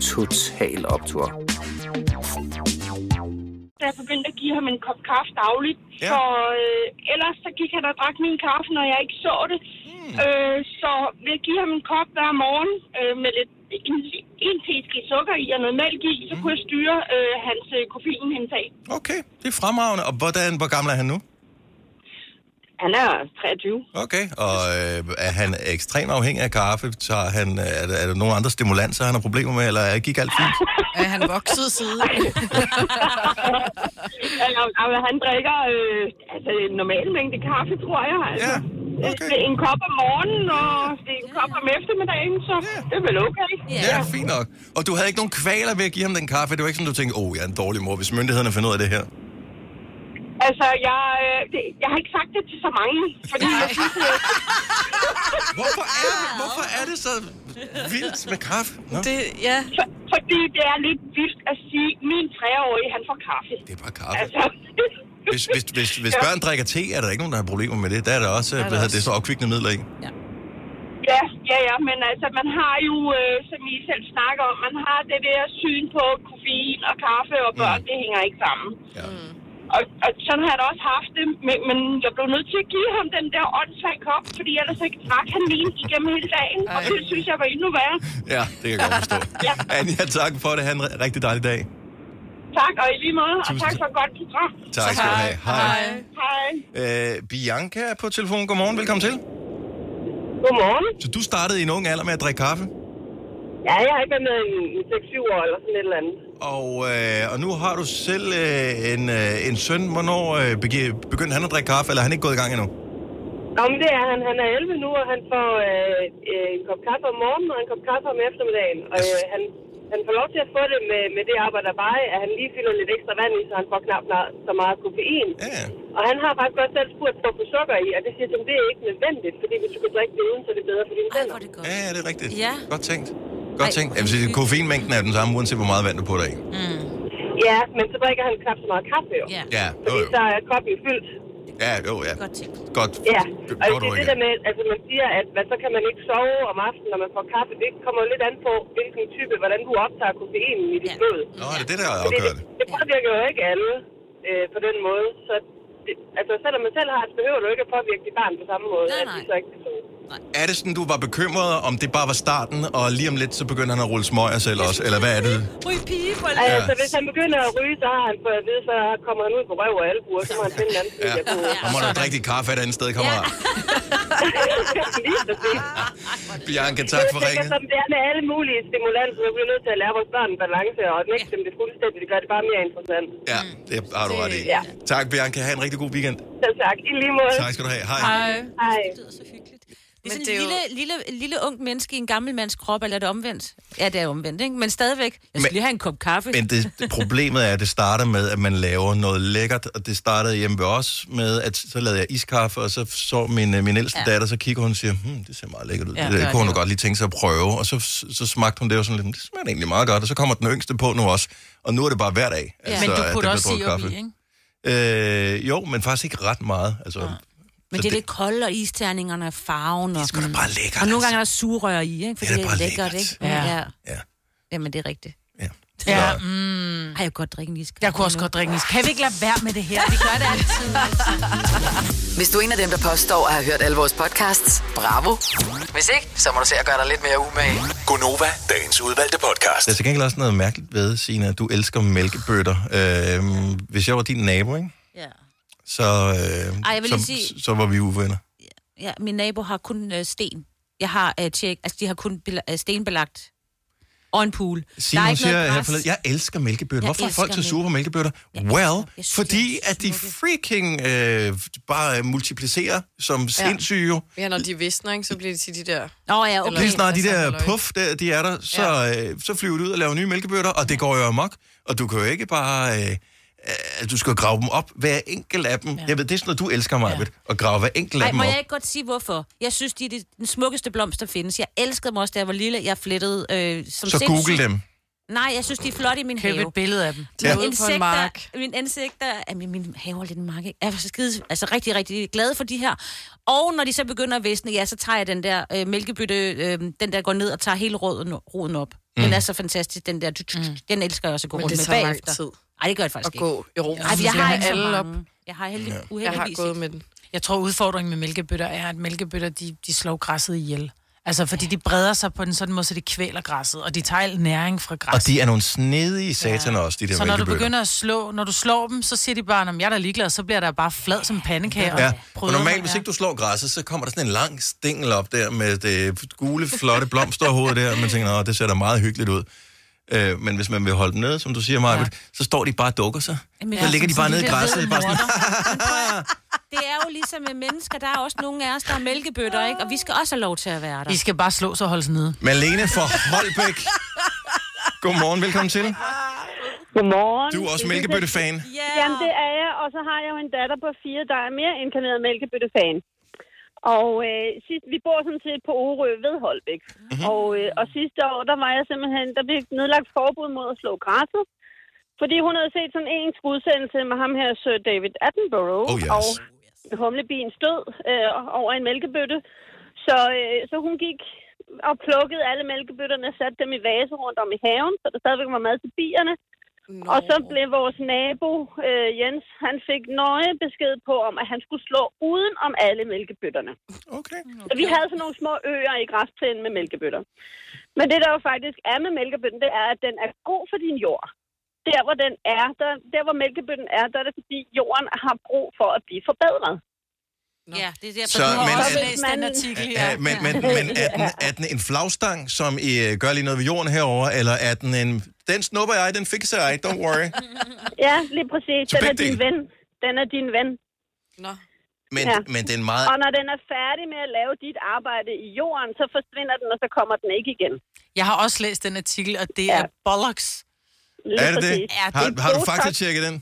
[SPEAKER 17] Total Optor.
[SPEAKER 12] Da jeg begyndte at give ham en kop kaffe dagligt, ja. for øh, ellers så gik han og drak min kaffe, når jeg ikke så det.
[SPEAKER 1] Hmm.
[SPEAKER 12] Mm. Øh, så ved at give ham en kop hver morgen øh, med lidt, en, en teske sukker i og noget mælk i, så
[SPEAKER 1] Hmm.
[SPEAKER 12] kunne jeg styre øh, hans øh, koffeinindtag.
[SPEAKER 1] Okay, det er fremragende. Og hvordan, hvor gammel er han nu?
[SPEAKER 12] Han er 23.
[SPEAKER 1] Okay, og øh, er han ekstremt afhængig af kaffe? Tager han, øh, er, der, er der nogle andre stimulanser, han har problemer med, eller er- gik alt fint?
[SPEAKER 4] Er han vokset siden?
[SPEAKER 12] altså, altså, han drikker øh, altså, en normal mængde kaffe, tror jeg. Altså. Ja. Okay. Det er en kop om morgenen, og det er en kop om eftermiddagen, så det er vel okay.
[SPEAKER 1] Ja, fint nok. Og du havde ikke nogen kvaler ved at give ham den kaffe? Det var ikke sådan, du tænkte, åh, oh, jeg er en dårlig mor, hvis myndighederne finder ud af det her.
[SPEAKER 12] Altså, jeg, øh, det, jeg har ikke sagt det til så mange, fordi jeg synes, øh,
[SPEAKER 1] Hvorfor er, det, hvorfor er det så vildt med kaffe? Nå.
[SPEAKER 12] Det, ja. For, fordi det er lidt vildt at sige, min treårige, han får kaffe. Det
[SPEAKER 1] er bare kaffe. Altså, Hvis, hvis, hvis, hvis børn drikker te, er der ikke nogen, der har problemer med det. Der er der også,
[SPEAKER 12] Er der
[SPEAKER 1] hvad hedder
[SPEAKER 12] også.
[SPEAKER 1] det, så opkvikkende midler i.
[SPEAKER 12] ja, ja, ja, men altså, man har jo, øh, som I selv snakker om, man har det der syn på koffein og kaffe og børn, mm. det hænger ikke sammen.
[SPEAKER 1] Ja.
[SPEAKER 12] Og, og sådan har jeg da også haft det, men, men jeg blev nødt til at give ham den der åndssvagt kop, fordi ellers så drak han lige igennem hele dagen, Ej. og det synes jeg var endnu værre.
[SPEAKER 1] Ja, det kan jeg godt forstå.
[SPEAKER 12] Ja.
[SPEAKER 1] Anja, tak for det. Ha' en ri- rigtig dejlig dag.
[SPEAKER 12] Tak, og i lige måde, og
[SPEAKER 1] Tusind
[SPEAKER 12] tak
[SPEAKER 1] tak.
[SPEAKER 12] for et godt program.
[SPEAKER 1] Tak skal du have. Hej.
[SPEAKER 12] Hej. Hej.
[SPEAKER 1] Øh, Bianca er på telefonen. Godmorgen, velkommen til.
[SPEAKER 18] Godmorgen.
[SPEAKER 1] Så du startede i en ung alder med at drikke kaffe,
[SPEAKER 18] Ja, jeg har ikke været med i, i 6-7 år eller sådan et eller andet.
[SPEAKER 1] og, øh, og nu har du selv øh, en, øh, en søn. Hvornår øh, begi- begyndte han at drikke kaffe, eller er han ikke gået i gang endnu?
[SPEAKER 18] Nå, men det er han. Han er 11 nu, og han får øh, øh, en kop kaffe om morgenen og en kop kaffe om eftermiddagen. Og
[SPEAKER 1] Altså-
[SPEAKER 18] øh, han, han får lov til at få det med, med det arbejde, der bare er, at han lige fylder lidt ekstra vand i, så han får knap na- så meget koffein.
[SPEAKER 1] Ja.
[SPEAKER 18] Og han har faktisk også selv spurgt på, på sukker i, og det siger, at det er ikke nødvendigt, fordi hvis du kan drikke det uden, så er det bedre for dine tænder. det
[SPEAKER 1] Ja, ja, det er rigtigt.
[SPEAKER 18] Ja.
[SPEAKER 1] Godt tænkt. Godt tænkt. Jeg vil sige, koffeinmængden er den samme, uanset hvor meget vand du putter i.
[SPEAKER 18] Mm. Ja, men så drikker han knap så meget kaffe, jo. Ja.
[SPEAKER 1] Ja, jo,
[SPEAKER 18] Fordi
[SPEAKER 1] jo.
[SPEAKER 18] så er koppen fyldt.
[SPEAKER 1] Ja, jo, ja.
[SPEAKER 18] Godt
[SPEAKER 3] tænkt.
[SPEAKER 1] Godt.
[SPEAKER 18] Ja, og
[SPEAKER 1] Godt
[SPEAKER 18] det er
[SPEAKER 1] ord
[SPEAKER 18] det der med, altså man siger, at hvad, så kan man ikke sove om aftenen, når man får kaffe. Det kommer jo lidt an på, hvilken type, hvordan du optager koffeinen i dit blod.
[SPEAKER 1] Nå, er det det, der
[SPEAKER 18] Fordi
[SPEAKER 1] afgør
[SPEAKER 18] det,
[SPEAKER 1] det?
[SPEAKER 18] det påvirker jo ikke alle øh, på den måde. Så det, altså selvom man selv har det, behøver du ikke at påvirke dit barn på samme måde. Nej, nej. At de så ikke kan sove.
[SPEAKER 1] Er det sådan, du var bekymret, om det bare var starten, og lige om lidt, så begynder han at rulle smøger selv også? Eller hvad er det?
[SPEAKER 18] Ryg pige for
[SPEAKER 1] lidt.
[SPEAKER 18] Altså, hvis han begynder at ryge, så har han fået at vide, så kommer han ud på røv og albuer, så må han finde en anden
[SPEAKER 1] Ja.
[SPEAKER 18] side.
[SPEAKER 1] Og må du drikke dit kaffe et andet sted, kammerat. Bianca, tak for
[SPEAKER 18] jeg tænker,
[SPEAKER 1] ringen.
[SPEAKER 18] som det er med alle mulige stimulanser, så bliver nødt til at lære vores børn en balance, og at nægte dem det fuldstændig, det gør det bare mere interessant.
[SPEAKER 1] Ja, det har du ret i.
[SPEAKER 18] Ja.
[SPEAKER 1] Tak, Bianca. Ha' en rigtig god weekend.
[SPEAKER 18] Så tak, i lige måde.
[SPEAKER 1] Tak skal du have. Hej.
[SPEAKER 18] Hej.
[SPEAKER 3] Det lyder så hyggeligt. Det er sådan
[SPEAKER 4] det er
[SPEAKER 3] en lille, lille, lille ungt menneske i en gammel mands krop, eller er det omvendt? Ja, det er omvendt, ikke? Men stadigvæk, jeg skal
[SPEAKER 1] Men-
[SPEAKER 3] men, lige have en kop kaffe.
[SPEAKER 1] Men det, det- problemet er, at det starter med, at man laver noget lækkert, og det startede hjemme ved os med, at så lavede jeg iskaffe, og så så min, øh, min ældste
[SPEAKER 14] Ja.
[SPEAKER 1] ja. datter, så kigger hun og siger, hmm, det ser meget lækkert ud.
[SPEAKER 14] Ja,
[SPEAKER 1] Ja,
[SPEAKER 14] det
[SPEAKER 1] det,
[SPEAKER 14] gør
[SPEAKER 1] det kunne hun
[SPEAKER 14] det.
[SPEAKER 1] jo godt lige tænke sig at prøve, og så, så smagte hun det, og sådan lidt, "Hmm, det smager egentlig meget godt, og så kommer den yngste på nu også, og nu er det bare hver dag. altså,
[SPEAKER 3] Ja. Men du
[SPEAKER 1] at
[SPEAKER 3] putter
[SPEAKER 1] der
[SPEAKER 3] også
[SPEAKER 1] bliver drukket
[SPEAKER 3] sirup i,
[SPEAKER 1] kaffe. Øh, jo, men faktisk ikke ret meget. Altså, ja.
[SPEAKER 3] Men det er det kolde, og isterningerne og farven. Og, det er sgu
[SPEAKER 1] da bare lækkert. altså.
[SPEAKER 3] Og nogle gange er der surrør i, ikke? Fordi det er, det er lækkert, ikke?
[SPEAKER 2] Ja.
[SPEAKER 3] ja.
[SPEAKER 1] ja.
[SPEAKER 3] Jamen, det er rigtigt.
[SPEAKER 2] Ja,
[SPEAKER 3] Så-
[SPEAKER 2] mm.
[SPEAKER 3] Ej, jeg kunne godt drikke en iskaffe.
[SPEAKER 2] Jeg kunne også godt drikke en iskaffe. Kan vi ikke lade være med det her? Vi gør det altid.
[SPEAKER 5] Hvis du er en af dem, der påstår at have hørt alle vores podcasts, bravo. Hvis ikke, så må du se at gøre dig lidt mere umage.
[SPEAKER 14] Gonova, dagens udvalgte podcast.
[SPEAKER 1] Der er til gengæld også noget mærkeligt ved, Signe, at du elsker mælkebøtter. Øh, hvis jeg var din nabo, ikke?
[SPEAKER 3] Ja.
[SPEAKER 1] Så, øh,
[SPEAKER 3] Ej, jeg vil lige
[SPEAKER 1] så,
[SPEAKER 3] sige-
[SPEAKER 1] så var vi uvenner.
[SPEAKER 3] Ja, min nabo har kun øh, sten. Jeg har øh, tjek, altså de har kun bela- øh, stenbelagt. Og en pool.
[SPEAKER 1] Signe,
[SPEAKER 3] der er
[SPEAKER 1] hun
[SPEAKER 3] ikke noget
[SPEAKER 1] siger her
[SPEAKER 3] græs.
[SPEAKER 1] forleden, jeg elsker mælkebøtter.
[SPEAKER 3] Jeg
[SPEAKER 1] Hvorfor er folk
[SPEAKER 3] elsker
[SPEAKER 1] så sure på mælkebøtter? Well, fordi at de freaking øh, bare multiplicerer som sindssyge. jo.
[SPEAKER 4] Ja, når de visner, ikke, så bliver de til de der... Altså,
[SPEAKER 3] Nå ja,
[SPEAKER 1] Okay, Lige snart de der puff, der, de er der, så,
[SPEAKER 4] Ja.
[SPEAKER 1] øh, så flyver de ud og laver nye mælkebøtter, og det går jo amok. Og du kan jo ikke bare... Øh, øh, du skal grave dem op, hver enkelt af dem. Ja. Jeg ved, det er sådan noget, du elsker mig, ja. at grave hver enkelt af
[SPEAKER 3] Ej,
[SPEAKER 1] dem
[SPEAKER 3] må
[SPEAKER 1] op.
[SPEAKER 3] jeg ikke godt sige hvorfor? Jeg synes, de er de- den smukkeste blomst, der findes. Jeg elskede dem også, da jeg var lille. Jeg flettede øh, som
[SPEAKER 1] Så google dem.
[SPEAKER 3] Nej, jeg synes, de er flotte i min
[SPEAKER 2] Køb
[SPEAKER 3] have.
[SPEAKER 2] et billede af dem.
[SPEAKER 3] Ja.
[SPEAKER 2] Ude på en
[SPEAKER 3] Insekter,
[SPEAKER 2] mark.
[SPEAKER 3] min insekter, ja, min, min have er lidt en mark, ikke? Jeg er så skide, altså rigtig, rigtig glad for de her. Og når de så begynder at visne, ja, så tager jeg den der øh, mælkebytte, øh, den der går ned og tager hele roden, roden op. Mm. Den er så fantastisk, den der. Du, du, du, den elsker jeg også at gå
[SPEAKER 4] Men
[SPEAKER 3] rundt
[SPEAKER 4] det
[SPEAKER 3] med
[SPEAKER 4] tager lang
[SPEAKER 3] bagefter.
[SPEAKER 4] tid
[SPEAKER 3] Nej, det gør jeg faktisk
[SPEAKER 4] at
[SPEAKER 3] ikke.
[SPEAKER 4] gå i ro.
[SPEAKER 3] Ej, for
[SPEAKER 4] Jeg
[SPEAKER 3] jeg
[SPEAKER 4] skal
[SPEAKER 3] har
[SPEAKER 4] have
[SPEAKER 3] ikke alle
[SPEAKER 4] alle
[SPEAKER 3] så
[SPEAKER 4] op.
[SPEAKER 3] mange. Jeg har heldig, ja.
[SPEAKER 4] Jeg har gået med den.
[SPEAKER 2] Jeg tror, udfordringen med mælkebøtter er, at mælkebøtter, de, de slår græsset ihjel. Altså, fordi de breder sig på en sådan måde, så de kvæler græsset, og de tager al næring fra græsset.
[SPEAKER 1] Og de er nogle snedige sataner også, de der
[SPEAKER 2] så når du
[SPEAKER 1] mælkebøtter.
[SPEAKER 2] begynder at slå, når du slår dem, så siger de bare, om jeg er da ligeglad, så bliver der bare flad som pandekage. og
[SPEAKER 1] Ja, og
[SPEAKER 2] prøver
[SPEAKER 1] normalt,
[SPEAKER 2] mig,
[SPEAKER 1] hvis
[SPEAKER 2] ja.
[SPEAKER 1] ikke du slår græsset, så kommer der sådan en lang stingel op der med det gule, flotte blomsterhoved der, og man tænker, at det ser da meget hyggeligt ud. Øh, men hvis man vil holde dem nede, som du siger, Maja, ja. så står de bare og dukker sig.
[SPEAKER 3] Jamen,
[SPEAKER 1] så
[SPEAKER 3] ja,
[SPEAKER 1] ligger de
[SPEAKER 3] sådan de
[SPEAKER 1] bare nede i
[SPEAKER 3] der
[SPEAKER 1] græsset.
[SPEAKER 3] hvide
[SPEAKER 1] Bare sådan,
[SPEAKER 3] Det er jo ligesom med mennesker, der er også nogle af os, der er mælkebøtter, ikke? Og vi skal også have lov til at være der.
[SPEAKER 2] I skal bare slå så holdes nede.
[SPEAKER 1] Malene fra Holbæk. Godmorgen, velkommen til.
[SPEAKER 18] Godmorgen.
[SPEAKER 1] Du er også mælkebøttefan.
[SPEAKER 18] Jamen, det er jeg, og
[SPEAKER 19] og så har jeg jo en datter på fire, der er mere inkarneret mælkebøttefan. Og øh, sidst, vi bor sådan set på Orø ved Holbæk.
[SPEAKER 7] Mhm.
[SPEAKER 19] Mm-hmm. Og, øh, og sidste år, der var jeg simpelthen, der blev nedlagt forbud mod at slå græsset. Fordi hun havde set sådan en udsendelse med ham her, Sir David Attenborough.
[SPEAKER 7] Oh, yes.
[SPEAKER 19] Og humlebiens død øh, over en mælkebøtte. Så, øh, så hun gik og plukkede alle mælkebøtterne og satte dem i vase rundt om i haven, så der stadigvæk var mad til bierne. Nå. Og så blev vores nabo, øh, Jens, han fik nøje besked på, om at han skulle slå uden om alle mælkebøtterne.
[SPEAKER 1] Okay.
[SPEAKER 19] Så vi havde sådan nogle små øer i græsplænen med mælkebøtter. Men det, der jo faktisk er med mælkebøtten, det er, at den er god for din jord. Der, hvor den er, der, der hvor mælkebøtten er, der er det, fordi jorden har brug for at blive forbedret.
[SPEAKER 3] Ja, det er derfor,
[SPEAKER 19] Så,
[SPEAKER 3] du har
[SPEAKER 19] men-
[SPEAKER 3] også
[SPEAKER 19] Så hvis
[SPEAKER 3] læst den
[SPEAKER 19] man-
[SPEAKER 3] artikel her.
[SPEAKER 1] Ja, men, men, men er, den, er den en flagstang, som I øh, gør lige noget ved jorden herover, eller er den en... Den snupper jeg, den fikser jeg, don't worry.
[SPEAKER 19] Ja, lige præcis.
[SPEAKER 1] Så
[SPEAKER 19] Den er
[SPEAKER 1] begge
[SPEAKER 19] din
[SPEAKER 1] dele.
[SPEAKER 19] ven. Den er din ven. Nå.
[SPEAKER 1] Men, ja. men det er en meget...
[SPEAKER 19] Og når den er færdig med at lave dit arbejde i jorden, så forsvinder den, og så kommer den ikke igen.
[SPEAKER 2] Jeg har også læst den artikel, og det ja. er bollocks.
[SPEAKER 1] Er det det?
[SPEAKER 2] Ja,
[SPEAKER 1] Har,
[SPEAKER 2] er
[SPEAKER 1] har du
[SPEAKER 2] botox.
[SPEAKER 1] faktatjekket den?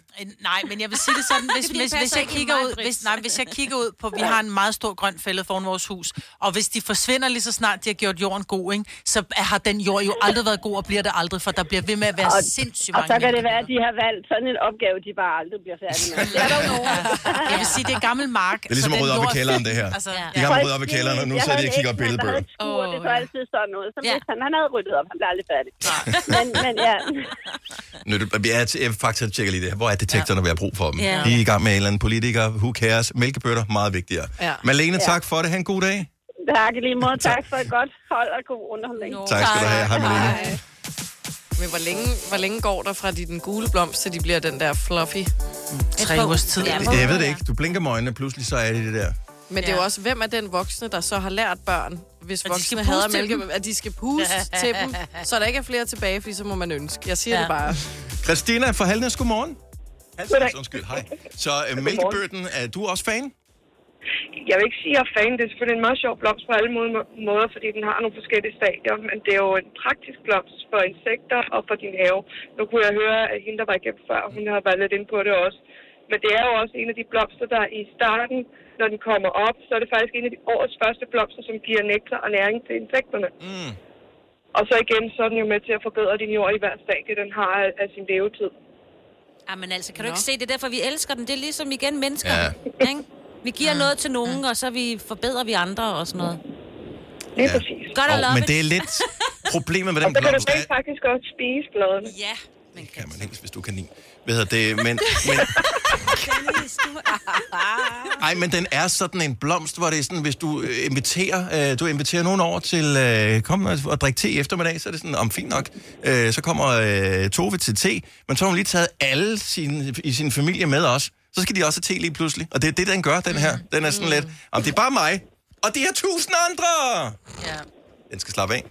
[SPEAKER 2] Nej, men jeg vil sige det sådan, hvis,
[SPEAKER 3] Det
[SPEAKER 2] det
[SPEAKER 3] bliver
[SPEAKER 2] hvis, hvis,
[SPEAKER 3] passer
[SPEAKER 2] jeg
[SPEAKER 3] ikke i
[SPEAKER 2] kigger
[SPEAKER 3] mig,
[SPEAKER 2] ud,
[SPEAKER 3] Britt.
[SPEAKER 2] hvis, nej, hvis jeg kigger ud på, vi har en meget stor grøn fælde foran vores hus, og hvis de forsvinder lige så snart, de har gjort jorden god, ikke, så er- har den jord jo aldrig været god, og bliver det aldrig, for der bliver ved med at være
[SPEAKER 19] og,
[SPEAKER 2] sindssygt
[SPEAKER 19] og
[SPEAKER 2] mange
[SPEAKER 19] så kan det
[SPEAKER 2] mælkebøtter.
[SPEAKER 19] være, at de har valgt sådan en opgave, de bare aldrig bliver færdige med. Det er der jo nogen.
[SPEAKER 2] Jeg vil sige, det er gammel mark.
[SPEAKER 1] Det er ligesom
[SPEAKER 2] så
[SPEAKER 1] at
[SPEAKER 2] den
[SPEAKER 1] rydde op i
[SPEAKER 2] jord-
[SPEAKER 1] kælderen, det her. Altså,
[SPEAKER 2] ja.
[SPEAKER 1] De har ryddet op i kælderen, og nu sidder de og kigger op billedbøger.
[SPEAKER 19] Oh, det så altid sådan noget. Så ja. han, han havde ryddet op, han blev aldrig færdig. men, men ja,
[SPEAKER 1] Nu, du- jeg, jeg faktatjekker lige det her. Hvor er detektorerne, vi har brug for dem?
[SPEAKER 19] Ja.
[SPEAKER 1] De er i gang med en eller anden politiker. Who cares? Mælkebøtter, meget vigtigere.
[SPEAKER 19] Ja.
[SPEAKER 1] Malene,
[SPEAKER 19] Ja.
[SPEAKER 1] tak for det. Ha' en god dag.
[SPEAKER 19] tak i lige måde. Tak for et godt hold og god underholdning.
[SPEAKER 1] Tak skal du have. Hej, Malene.
[SPEAKER 4] Men hvor længe, hvor længe går der fra de den gule blomst, til de bliver den der fluffy?
[SPEAKER 2] Tre ugers tid.
[SPEAKER 1] Jeg ved det ikke. Du blinker med øjnene, pludselig så er det det der.
[SPEAKER 4] Men det er jo også, hvem er den voksne, der så har lært børn, hvis
[SPEAKER 2] skal
[SPEAKER 4] voksne
[SPEAKER 2] puste
[SPEAKER 4] hader
[SPEAKER 2] til dem.
[SPEAKER 4] mælke, at de skal puste til dem, så der ikke er flere tilbage, fordi så må man ønske. Jeg siger
[SPEAKER 1] Ja.
[SPEAKER 4] det bare.
[SPEAKER 1] Christina fra Halnes, godmorgen. Halsnes, undskyld, hej. Så uh, mælkebøtten, er du også fan?
[SPEAKER 20] Jeg vil ikke sige, at jeg er fan. Det er selvfølgelig en meget sjov blomst på alle måde- måder, fordi den har nogle forskellige stadier. Men det er jo en praktisk blomst for insekter og for din have. Nu kunne jeg høre, at hende, der var igennem før, hun har været lidt inde på det også. Men det er jo også en af de blomster, der i starten, når den kommer op, så er det faktisk en af de årets første blomster, som giver nektar og næring til insekterne.
[SPEAKER 1] Mm.
[SPEAKER 20] Og så igen, så er den jo med til at forbedre din jord i hver stadie, den har af, af sin levetid.
[SPEAKER 3] Jamen altså, kan du ikke se, det er derfor, vi elsker den. Det er ligesom igen mennesker.
[SPEAKER 20] Ja.
[SPEAKER 3] Ikke? Vi giver noget til nogen, og så vi forbedrer vi andre og sådan noget.
[SPEAKER 20] Lige ja. præcis.
[SPEAKER 3] Godt at
[SPEAKER 1] Åh,
[SPEAKER 3] love
[SPEAKER 1] men
[SPEAKER 3] it.
[SPEAKER 1] det er lidt problemet med
[SPEAKER 20] Og
[SPEAKER 1] den
[SPEAKER 20] så kan du
[SPEAKER 1] blomst.
[SPEAKER 20] rent faktisk også spise bladene.
[SPEAKER 3] Ja.
[SPEAKER 1] Kan man helst, hvis du kan lide. Hvad hedder det? Men, men, ej, men den er sådan en blomst, hvor det er sådan, hvis du øh, inviterer, øh, du inviterer nogen over til, øh, kom og, og drikke te i eftermiddag, så er det sådan, om fint nok, øh, så kommer øh, Tove til te, men så har hun lige taget alle sine, i sin familie med os, så skal de også have te lige pludselig, og det er det, den gør, den her. Den er sådan lidt, om det er bare mig, og det er tusind andre!
[SPEAKER 2] Ja.
[SPEAKER 1] Den skal slappe af.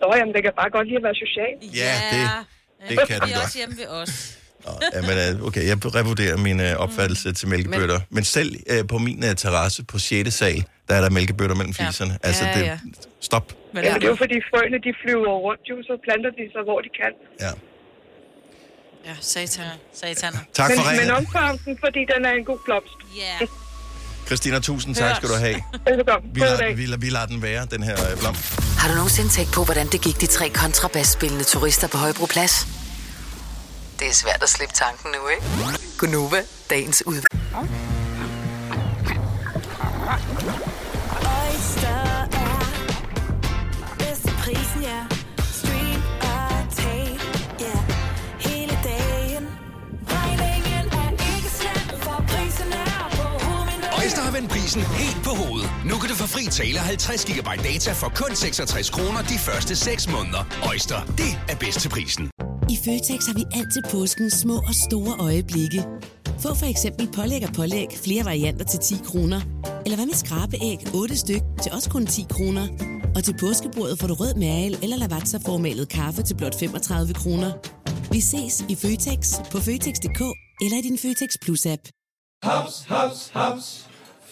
[SPEAKER 20] Nå, jamen, det kan bare godt lide at være social.
[SPEAKER 1] Ja, det, det kan den
[SPEAKER 3] Vi er
[SPEAKER 1] godt.
[SPEAKER 3] også hjemme ved os.
[SPEAKER 1] Ja, men, øh, okay, jeg revurderer min
[SPEAKER 4] Mm.
[SPEAKER 1] øh, opfattelse til mælkebøtter. Men, men selv øh, på min øh, terrasse på 6. sal, der er der mælkebøtter mellem fliserne. Ja. Altså,
[SPEAKER 20] Ja,
[SPEAKER 1] det,
[SPEAKER 20] ja.
[SPEAKER 1] stop.
[SPEAKER 20] Men Jamen, det er jo fordi frøene, de flyver rundt, jo, så planter de sig, hvor de kan.
[SPEAKER 4] Ja, satan.
[SPEAKER 2] Satan.
[SPEAKER 1] Tak
[SPEAKER 20] men,
[SPEAKER 1] for
[SPEAKER 20] Men
[SPEAKER 1] ringen.
[SPEAKER 20] omfavn den, fordi den er en god blomst.
[SPEAKER 3] Ja.
[SPEAKER 1] Christina, tusind tak skal du have.
[SPEAKER 20] Velbekomme.
[SPEAKER 1] Vi
[SPEAKER 20] God
[SPEAKER 1] lader,
[SPEAKER 20] dag.
[SPEAKER 1] vi, lader, vi lader den være, den her øh, blomst.
[SPEAKER 5] Har du nogensinde tænkt på, hvordan det gik de tre kontrabasspillende turister på Højbroplads? Det er svært at slippe tanken nu, ikke? Gunova, dagens ud.
[SPEAKER 7] Oyster er bedst til prisen, ja. Stream og tag, ja. Hele dagen. Regningen er ikke slem, for prisen er på hovedet.
[SPEAKER 14] Øjster har vendt prisen helt på hovedet. Nu kan du få fri tale 50 GB data for kun 66 kroner de første 6 måneder. Øjster, det er bedst til prisen.
[SPEAKER 15] I Føtex har vi altid påsken små og store øjeblikke. Få for eksempel pålæg og pålæg flere varianter til 10 kroner. Eller hvad med skrabeæg 8 styk til også kun 10 kroner. Og til påskebordet får du rød mal eller lavatserformalet kaffe til blot 35 kroner. Vi ses i Føtex på Føtex.dk eller i din Føtex Plus-app.
[SPEAKER 16] Haps, haps, haps.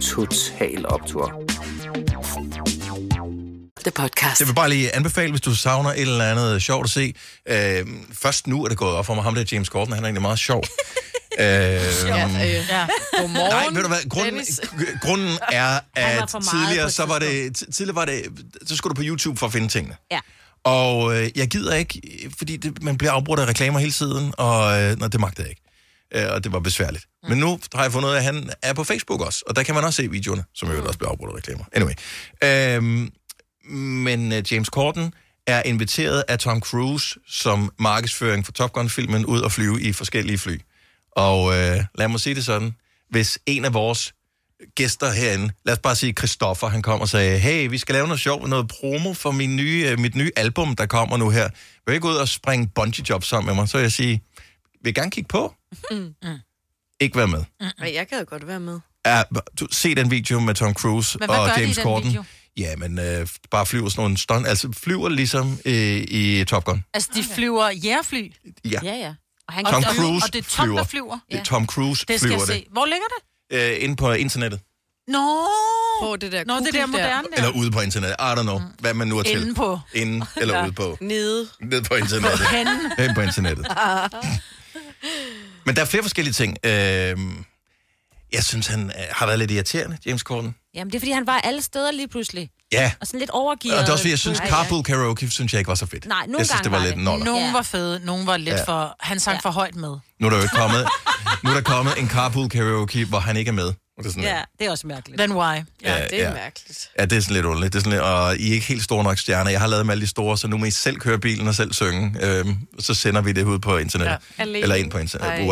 [SPEAKER 17] Total Optor.
[SPEAKER 1] The podcast. Jeg vil bare lige anbefale, hvis du savner et eller andet sjovt at se. Øh, først nu er det gået op for mig. Ham der James Corden, han er egentlig meget sjov. øh,
[SPEAKER 4] Ja, øh, ja. Godmorgen,
[SPEAKER 1] Nej, ved du hvad, grunden,
[SPEAKER 4] Dennis.
[SPEAKER 1] grunden er,
[SPEAKER 4] Han var
[SPEAKER 1] at
[SPEAKER 4] for meget på
[SPEAKER 1] tidligere,
[SPEAKER 4] et
[SPEAKER 1] så var det, ti- tidligere var det, så skulle du på YouTube for at finde tingene.
[SPEAKER 3] Ja.
[SPEAKER 1] Og øh, jeg gider ikke, øh, fordi det, man bliver afbrudt af reklamer hele tiden, og øh, nej, det magtede jeg ikke. Øh, og det var besværligt. Mm. Men nu har jeg fundet ud af, at han er på Facebook også, og der kan man også se videoerne, som jo også bliver afbrudt af reklamer. Anyway. Øhm, men øh, James Corden er inviteret af Tom Cruise som markedsføring for Top Gun-filmen ud og flyve i forskellige fly. Og øh, lad mig sige det sådan, hvis en af vores gæster herinde, lad os bare sige Christoffer, han kom og sagde, hey, vi skal lave noget sjovt, noget promo for min nye, øh, mit nye album, der kommer nu her. Vil I ikke ud og springe bungee job sammen med mig? Så vil jeg sige, vil I gerne kigge på?
[SPEAKER 4] Mm.
[SPEAKER 1] Ikke være med.
[SPEAKER 2] mm.
[SPEAKER 4] Men jeg gad godt være med.
[SPEAKER 1] Ja, du, se den video med Tom Cruise
[SPEAKER 4] Men hvad
[SPEAKER 1] og
[SPEAKER 4] gør de i
[SPEAKER 1] James
[SPEAKER 4] den
[SPEAKER 1] Corden.
[SPEAKER 4] video?
[SPEAKER 1] Ja, men øh, bare flyver sådan nogle stunt, altså flyver ligesom øh, i Top Gun.
[SPEAKER 2] Altså, de flyver jægerfly.
[SPEAKER 1] Ja.
[SPEAKER 2] ja. ja. Og,
[SPEAKER 1] Tom
[SPEAKER 2] og-
[SPEAKER 1] Cruise
[SPEAKER 2] og det er Tom,
[SPEAKER 1] flyver.
[SPEAKER 2] der flyver.
[SPEAKER 1] Det er Tom Cruise
[SPEAKER 2] Det skal
[SPEAKER 1] flyver
[SPEAKER 2] jeg se.
[SPEAKER 1] det.
[SPEAKER 2] Hvor ligger det?
[SPEAKER 1] Øh, inde på internettet.
[SPEAKER 2] Nå!
[SPEAKER 4] På det der
[SPEAKER 2] Nå, det
[SPEAKER 4] Google
[SPEAKER 2] der
[SPEAKER 4] der.
[SPEAKER 2] moderne der.
[SPEAKER 1] Eller ude på internettet. I don't know, mm. hvad man nu er til.
[SPEAKER 2] Inde på.
[SPEAKER 1] Inde eller
[SPEAKER 4] Ja.
[SPEAKER 1] ude på.
[SPEAKER 4] Nede.
[SPEAKER 1] Ned på internettet.
[SPEAKER 4] På panden.
[SPEAKER 1] Hen på internettet. Men der er flere forskellige ting. Øh, jeg synes, han øh, har været lidt irriterende, James Corden.
[SPEAKER 3] Jamen, det er, fordi han var alle steder lige pludselig.
[SPEAKER 1] Ja.
[SPEAKER 3] Og sådan lidt overgivet.
[SPEAKER 1] Og det er også, fordi jeg synes,
[SPEAKER 3] Ja, ja.
[SPEAKER 1] Carpool Karaoke, synes jeg ikke var så fedt.
[SPEAKER 3] Nej, nogle
[SPEAKER 1] jeg synes,
[SPEAKER 3] gange
[SPEAKER 1] det var,
[SPEAKER 3] var
[SPEAKER 1] lidt
[SPEAKER 3] det.
[SPEAKER 1] noller.
[SPEAKER 2] Nogen var fede, nogen var lidt
[SPEAKER 1] Ja.
[SPEAKER 2] ja. for... Han sang ja. for højt med.
[SPEAKER 1] Nu er der jo ikke kommet, nu er der kommet en Carpool Karaoke, hvor han ikke er med. Og det er sådan,
[SPEAKER 3] Ja, det er også mærkeligt.
[SPEAKER 2] Then why?
[SPEAKER 1] Ja, Ja, det er ja.
[SPEAKER 2] mærkeligt.
[SPEAKER 1] Ja, det er sådan lidt underligt. Det er sådan lidt, og I er ikke helt store nok stjerner. Jeg har lavet dem alle de store, så nu må I selv køre bilen og selv synge. Øhm, så sender vi det ud på internettet.
[SPEAKER 14] Ja. Alene.
[SPEAKER 1] Eller ind på internettet.
[SPEAKER 14] Ej.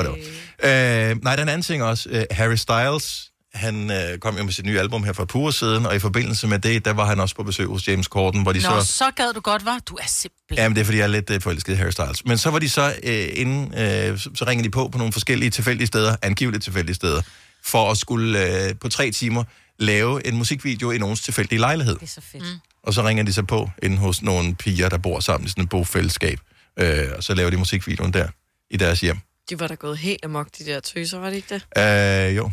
[SPEAKER 1] Whatever. Øh, nej, den anden ting også. Øh, Harry Styles, han øh, kom jo med sit nye album her for et par uger siden, og i forbindelse med det, der var han også på besøg hos James Corden, hvor de
[SPEAKER 2] Nå,
[SPEAKER 1] så...
[SPEAKER 2] så gad du godt, var. Du er simpelthen...
[SPEAKER 1] Jamen, det er, fordi jeg er lidt øh, forelsket i Harry Styles. Men så var de så øh, inde, øh, så så ringede de på på nogle forskellige tilfældige steder, angiveligt tilfældige steder, for at skulle øh, på tre timer lave en musikvideo i nogens tilfældige lejlighed.
[SPEAKER 3] Det er så fedt. Mm.
[SPEAKER 1] Og så ringer de så på inde hos nogle piger, der bor sammen i sådan et bofællesskab. Øh, og så laver de musikvideoen der, i deres hjem.
[SPEAKER 4] De var da gået helt amok, de der tøser, var det ikke det?
[SPEAKER 1] Øh, jo.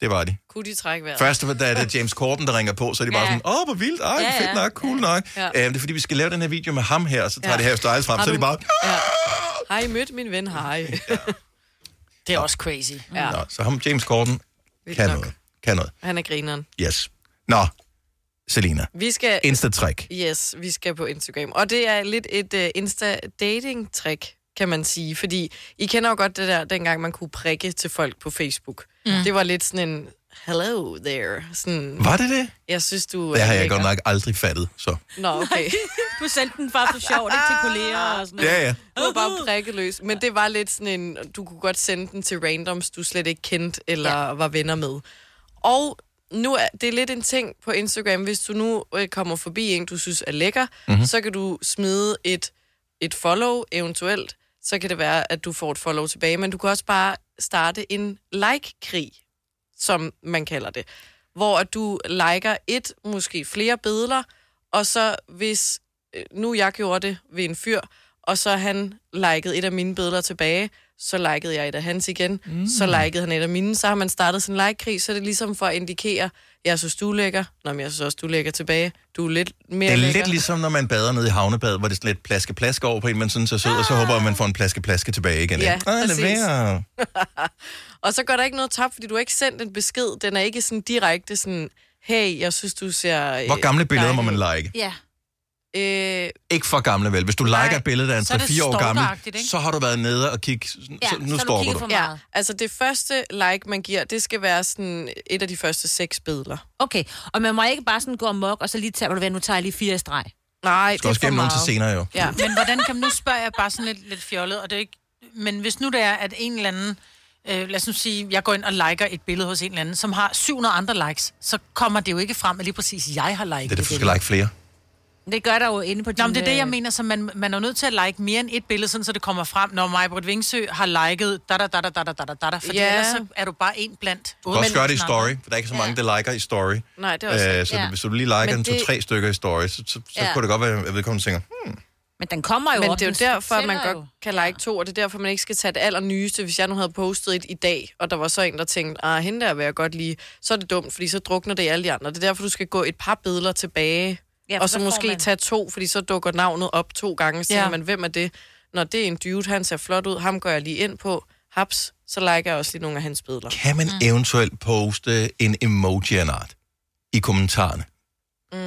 [SPEAKER 1] Det var de.
[SPEAKER 4] Kunne de trække vejret?
[SPEAKER 1] Først, da det er James Corden, der ringer på, så er de bare
[SPEAKER 4] Ja.
[SPEAKER 1] sådan, åh, hvor vildt, ej,
[SPEAKER 4] Ja, ja.
[SPEAKER 1] fedt nok, cool nok.
[SPEAKER 4] Ja.
[SPEAKER 1] Ja. Øh, det er fordi, vi skal lave den her video med ham her, og så tager
[SPEAKER 4] Ja.
[SPEAKER 1] ja. det her Styles frem,
[SPEAKER 4] Har
[SPEAKER 1] så er de
[SPEAKER 4] du-
[SPEAKER 1] bare...
[SPEAKER 4] Ja. Har I mødt min ven? Hej.
[SPEAKER 2] det er også crazy.
[SPEAKER 4] Ja.
[SPEAKER 1] Nå, så ham, James Corden,
[SPEAKER 4] Vildt
[SPEAKER 1] kan
[SPEAKER 4] nok.
[SPEAKER 1] noget. Kan noget.
[SPEAKER 4] Han er grineren.
[SPEAKER 1] Yes. Nå, Selina.
[SPEAKER 4] Vi skal...
[SPEAKER 1] Insta-trick.
[SPEAKER 4] Yes, vi skal på Instagram. Og det er lidt et uh, Insta-dating-trick, kan man sige. Fordi I kender jo godt det der, dengang man kunne prikke til folk på Facebook.
[SPEAKER 1] Mm.
[SPEAKER 4] Mm. Det var lidt sådan en, hello there. Sådan,
[SPEAKER 1] Var det det?
[SPEAKER 4] Jeg synes, du...
[SPEAKER 1] Det
[SPEAKER 4] er
[SPEAKER 1] har jeg
[SPEAKER 4] lækker.
[SPEAKER 1] godt nok aldrig fattet, så...
[SPEAKER 4] Nå, okay.
[SPEAKER 3] Du sendte den bare for sjov, ikke til kolleger og sådan noget.
[SPEAKER 1] Ja, ja.
[SPEAKER 4] Du var bare prikket løs. Men det var lidt sådan en, du kunne godt sende den til randoms, du slet ikke kendte eller ja. var venner med. Og nu er det er lidt en ting på Instagram, hvis du nu øh, kommer forbi en, du synes er lækker,
[SPEAKER 7] Mhm.
[SPEAKER 4] mm-hmm. så kan du smide et, et follow eventuelt. Så kan det være, at du får et follow tilbage, men du kan også bare starte en like-krig, som man kalder det. Hvor at du liker et, måske flere billeder, og så hvis øh, nu jeg gjorde det ved en fyr, og så han likede et af mine billeder tilbage, så likede jeg et af hans igen, mm. så likede han et af mine, så har man startet sådan en like-krig, så er det ligesom for at indikere, jeg synes, du er lækker, Nå, men jeg synes også, du er lækker tilbage, du er lidt mere
[SPEAKER 1] Det er
[SPEAKER 4] lækker.
[SPEAKER 1] lidt ligesom, når man bader nede i havnebadet, hvor det er sådan lidt plaske-plaske over på en, man synes er sød, og så håber man, man får en plaske-plaske tilbage igen.
[SPEAKER 4] Ah. Ja,
[SPEAKER 1] ikke? Ah,
[SPEAKER 4] præcis.
[SPEAKER 1] leverer.
[SPEAKER 4] Og så går der ikke noget tabt, fordi du har ikke sendt en besked, den er ikke sådan direkte sådan, hey, jeg synes, du ser... øh,
[SPEAKER 1] Hvor gamle billeder må man
[SPEAKER 4] dejlig
[SPEAKER 1] like?
[SPEAKER 4] ud." Øh,
[SPEAKER 1] Ikke for gamle, vel? Hvis du
[SPEAKER 4] Nej,
[SPEAKER 1] liker et billede, der er
[SPEAKER 4] så er det
[SPEAKER 1] 3-4 år
[SPEAKER 4] stalkeragtigt,
[SPEAKER 1] gammel,
[SPEAKER 4] ikke?
[SPEAKER 1] så har du været nede og kigge. Ja, så, nu står du.
[SPEAKER 4] Ja, altså det første like, man giver, det skal være sådan et af de første seks billeder.
[SPEAKER 3] Okay, og man må ikke bare sådan gå amok, og så lige tage, hvor du ved, nu tager jeg lige fire i streg.
[SPEAKER 4] Nej,
[SPEAKER 1] Skal også gemme nogen til senere, jo.
[SPEAKER 2] Ja. Men hvordan kan man nu spørge jeg bare sådan lidt, lidt fjollet, og det er ikke... Men hvis nu det er, at en eller anden... Øh, lad os nu sige, jeg går ind og liker et billede hos en eller anden, som har 700 andre likes, så kommer det jo ikke frem, at lige præcis jeg har liket
[SPEAKER 1] Det er derfor, du
[SPEAKER 2] det
[SPEAKER 1] skal like flere.
[SPEAKER 3] Det gør der jo inde på din... øh,
[SPEAKER 2] Nå, men det er det, jeg mener, så man, man er nødt til at like mere end et billede, sådan, så det kommer frem, når Majbrit Vingsø har liket da da da da da da da da da, fordi
[SPEAKER 4] Ja.
[SPEAKER 2] ellers så er du bare en blandt.
[SPEAKER 1] Du kan også gøre det i story, for der er ikke så
[SPEAKER 2] Ja.
[SPEAKER 1] mange, der liker i story. Øh,
[SPEAKER 2] Nej, det er også rigtigt.
[SPEAKER 1] så
[SPEAKER 2] Ja.
[SPEAKER 1] hvis du lige liker
[SPEAKER 2] Men
[SPEAKER 1] en
[SPEAKER 2] det-
[SPEAKER 1] to-tre stykker i story, så, så, så
[SPEAKER 4] Ja.
[SPEAKER 1] kunne det godt være, at vedkommende tænker,
[SPEAKER 3] Men den kommer jo
[SPEAKER 4] Men
[SPEAKER 3] op,
[SPEAKER 4] det er
[SPEAKER 3] den
[SPEAKER 4] jo derfor, at man
[SPEAKER 3] sælger
[SPEAKER 4] godt jo. kan like to, og det er derfor, man ikke skal tage det allernyeste. Hvis jeg nu havde postet et i dag, og der var så en, der tænkte, ah, hende der vil jeg godt lide, så er det dumt, fordi så drukner det i alle de andre. Det er derfor, du skal gå et par billeder tilbage,
[SPEAKER 3] Ja,
[SPEAKER 4] ja,
[SPEAKER 3] for
[SPEAKER 4] og så,
[SPEAKER 3] så får
[SPEAKER 4] måske
[SPEAKER 3] man-
[SPEAKER 4] man... tage to, fordi så dukker navnet op to gange, så
[SPEAKER 3] Ja.
[SPEAKER 4] ja. man, hvem er det? Når det er en dude, han ser flot ud, ham går jeg lige ind på, haps, så liker jeg også lige nogle af hans billeder.
[SPEAKER 1] kan man mm. eventuelt poste en emoji af en art i kommentarerne?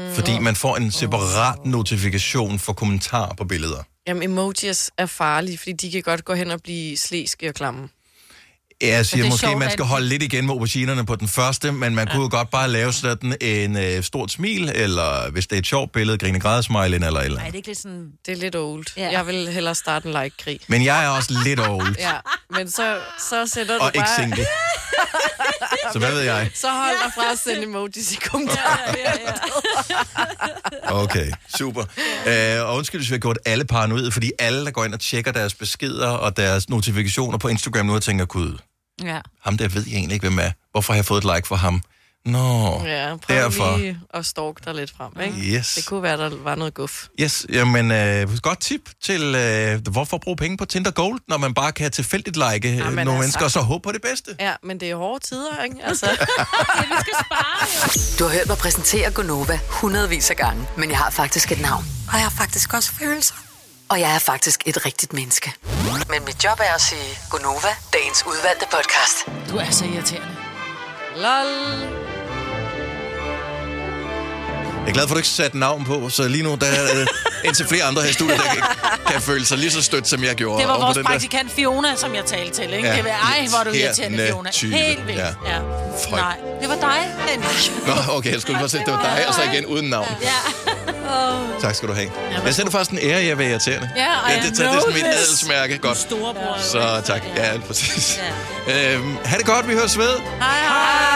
[SPEAKER 1] Mm. Fordi man får en separat notifikation for kommentarer på billeder.
[SPEAKER 4] Jamen, emojis er farlige, fordi de kan godt gå hen og blive slæske og klamme.
[SPEAKER 1] Jeg
[SPEAKER 4] det
[SPEAKER 1] siger
[SPEAKER 4] er
[SPEAKER 1] måske,
[SPEAKER 4] sjovt,
[SPEAKER 1] man
[SPEAKER 4] at-
[SPEAKER 1] skal holde lidt igen med auberginerne på den første, men man ja. kunne jo godt bare lave sådan en øh, stort smil, eller hvis det er et sjovt billede, grine grædesmile eller et eller andet.
[SPEAKER 4] det
[SPEAKER 3] er ikke lidt sådan...
[SPEAKER 4] Det er lidt old. Ja. Jeg vil hellere starte en like-krig.
[SPEAKER 1] Men jeg er også lidt old,
[SPEAKER 4] Ja, men så, så sætter
[SPEAKER 1] og
[SPEAKER 4] du
[SPEAKER 1] ikke
[SPEAKER 4] bare...
[SPEAKER 1] single. Så hvad ved jeg?
[SPEAKER 4] Så hold dig fra at sende emojis i kommentarerne. Ja, ja,
[SPEAKER 1] Okay, super. Øh, og undskyld, hvis vi har gjort alle paranoid, fordi alle, der går ind og tjekker deres beskeder og deres notifikationer på Instagram nu, og tænker, gud,
[SPEAKER 3] Ja.
[SPEAKER 1] ham der ved jeg egentlig ikke, hvem er. Hvorfor har jeg fået et like fra ham? Nå,
[SPEAKER 4] ja. ja prøv
[SPEAKER 1] derfor.
[SPEAKER 4] Derfor. lige at stalke dig lidt frem, ikke?
[SPEAKER 1] Yes.
[SPEAKER 4] Det kunne være, der var noget guf.
[SPEAKER 1] Yes, jamen, øh, godt tip til, øh, hvorfor bruge penge på Tinder Gold, når man bare kan tilfældigt like øh, nogle altså. mennesker, og så håbe på det bedste.
[SPEAKER 4] Ja, men det er hårde tider, ikke? Altså.
[SPEAKER 5] Du har hørt mig præsentere Gonova hundredvis af gange, men jeg har faktisk et navn.
[SPEAKER 6] Og jeg har faktisk også følelser.
[SPEAKER 5] Og jeg er faktisk et rigtigt menneske. Men mit job er at sige Gonova, dagens udvalgte podcast.
[SPEAKER 2] Du er så irriterende.
[SPEAKER 4] Lol.
[SPEAKER 1] Jeg er glad for, at du ikke satte navn på, så lige nu, der er øh, indtil flere andre her i studiet, der kan, kan føle sig lige så stødt, som jeg gjorde.
[SPEAKER 2] Det var
[SPEAKER 1] over på
[SPEAKER 2] vores
[SPEAKER 1] den der-
[SPEAKER 2] praktikant Fiona, som jeg talte til, ikke?
[SPEAKER 1] Ja.
[SPEAKER 2] Ja. Det var, ej, hvor er du irriterende,
[SPEAKER 1] Irriterende
[SPEAKER 2] Fiona.
[SPEAKER 1] type.
[SPEAKER 2] Helt vildt.
[SPEAKER 1] Ja.
[SPEAKER 2] Ja. ja.
[SPEAKER 1] Frøk.
[SPEAKER 2] Nej, det var dig, Henrik.
[SPEAKER 1] Nå, okay, jeg skulle bare se, det var dig, og så igen uden navn.
[SPEAKER 2] Ja.
[SPEAKER 1] Tak skal du have. Jeg sender faktisk en ære, jeg vil irriterende.
[SPEAKER 2] Ja, og
[SPEAKER 1] ja
[SPEAKER 2] jeg
[SPEAKER 1] det, det, det er sådan
[SPEAKER 2] know
[SPEAKER 1] mit
[SPEAKER 2] this.
[SPEAKER 1] adelsmærke. Godt.
[SPEAKER 2] Storebror.
[SPEAKER 1] Så tak. Ja, præcis. Øhm, ha' det godt, vi høres ved.
[SPEAKER 2] Hej, hej.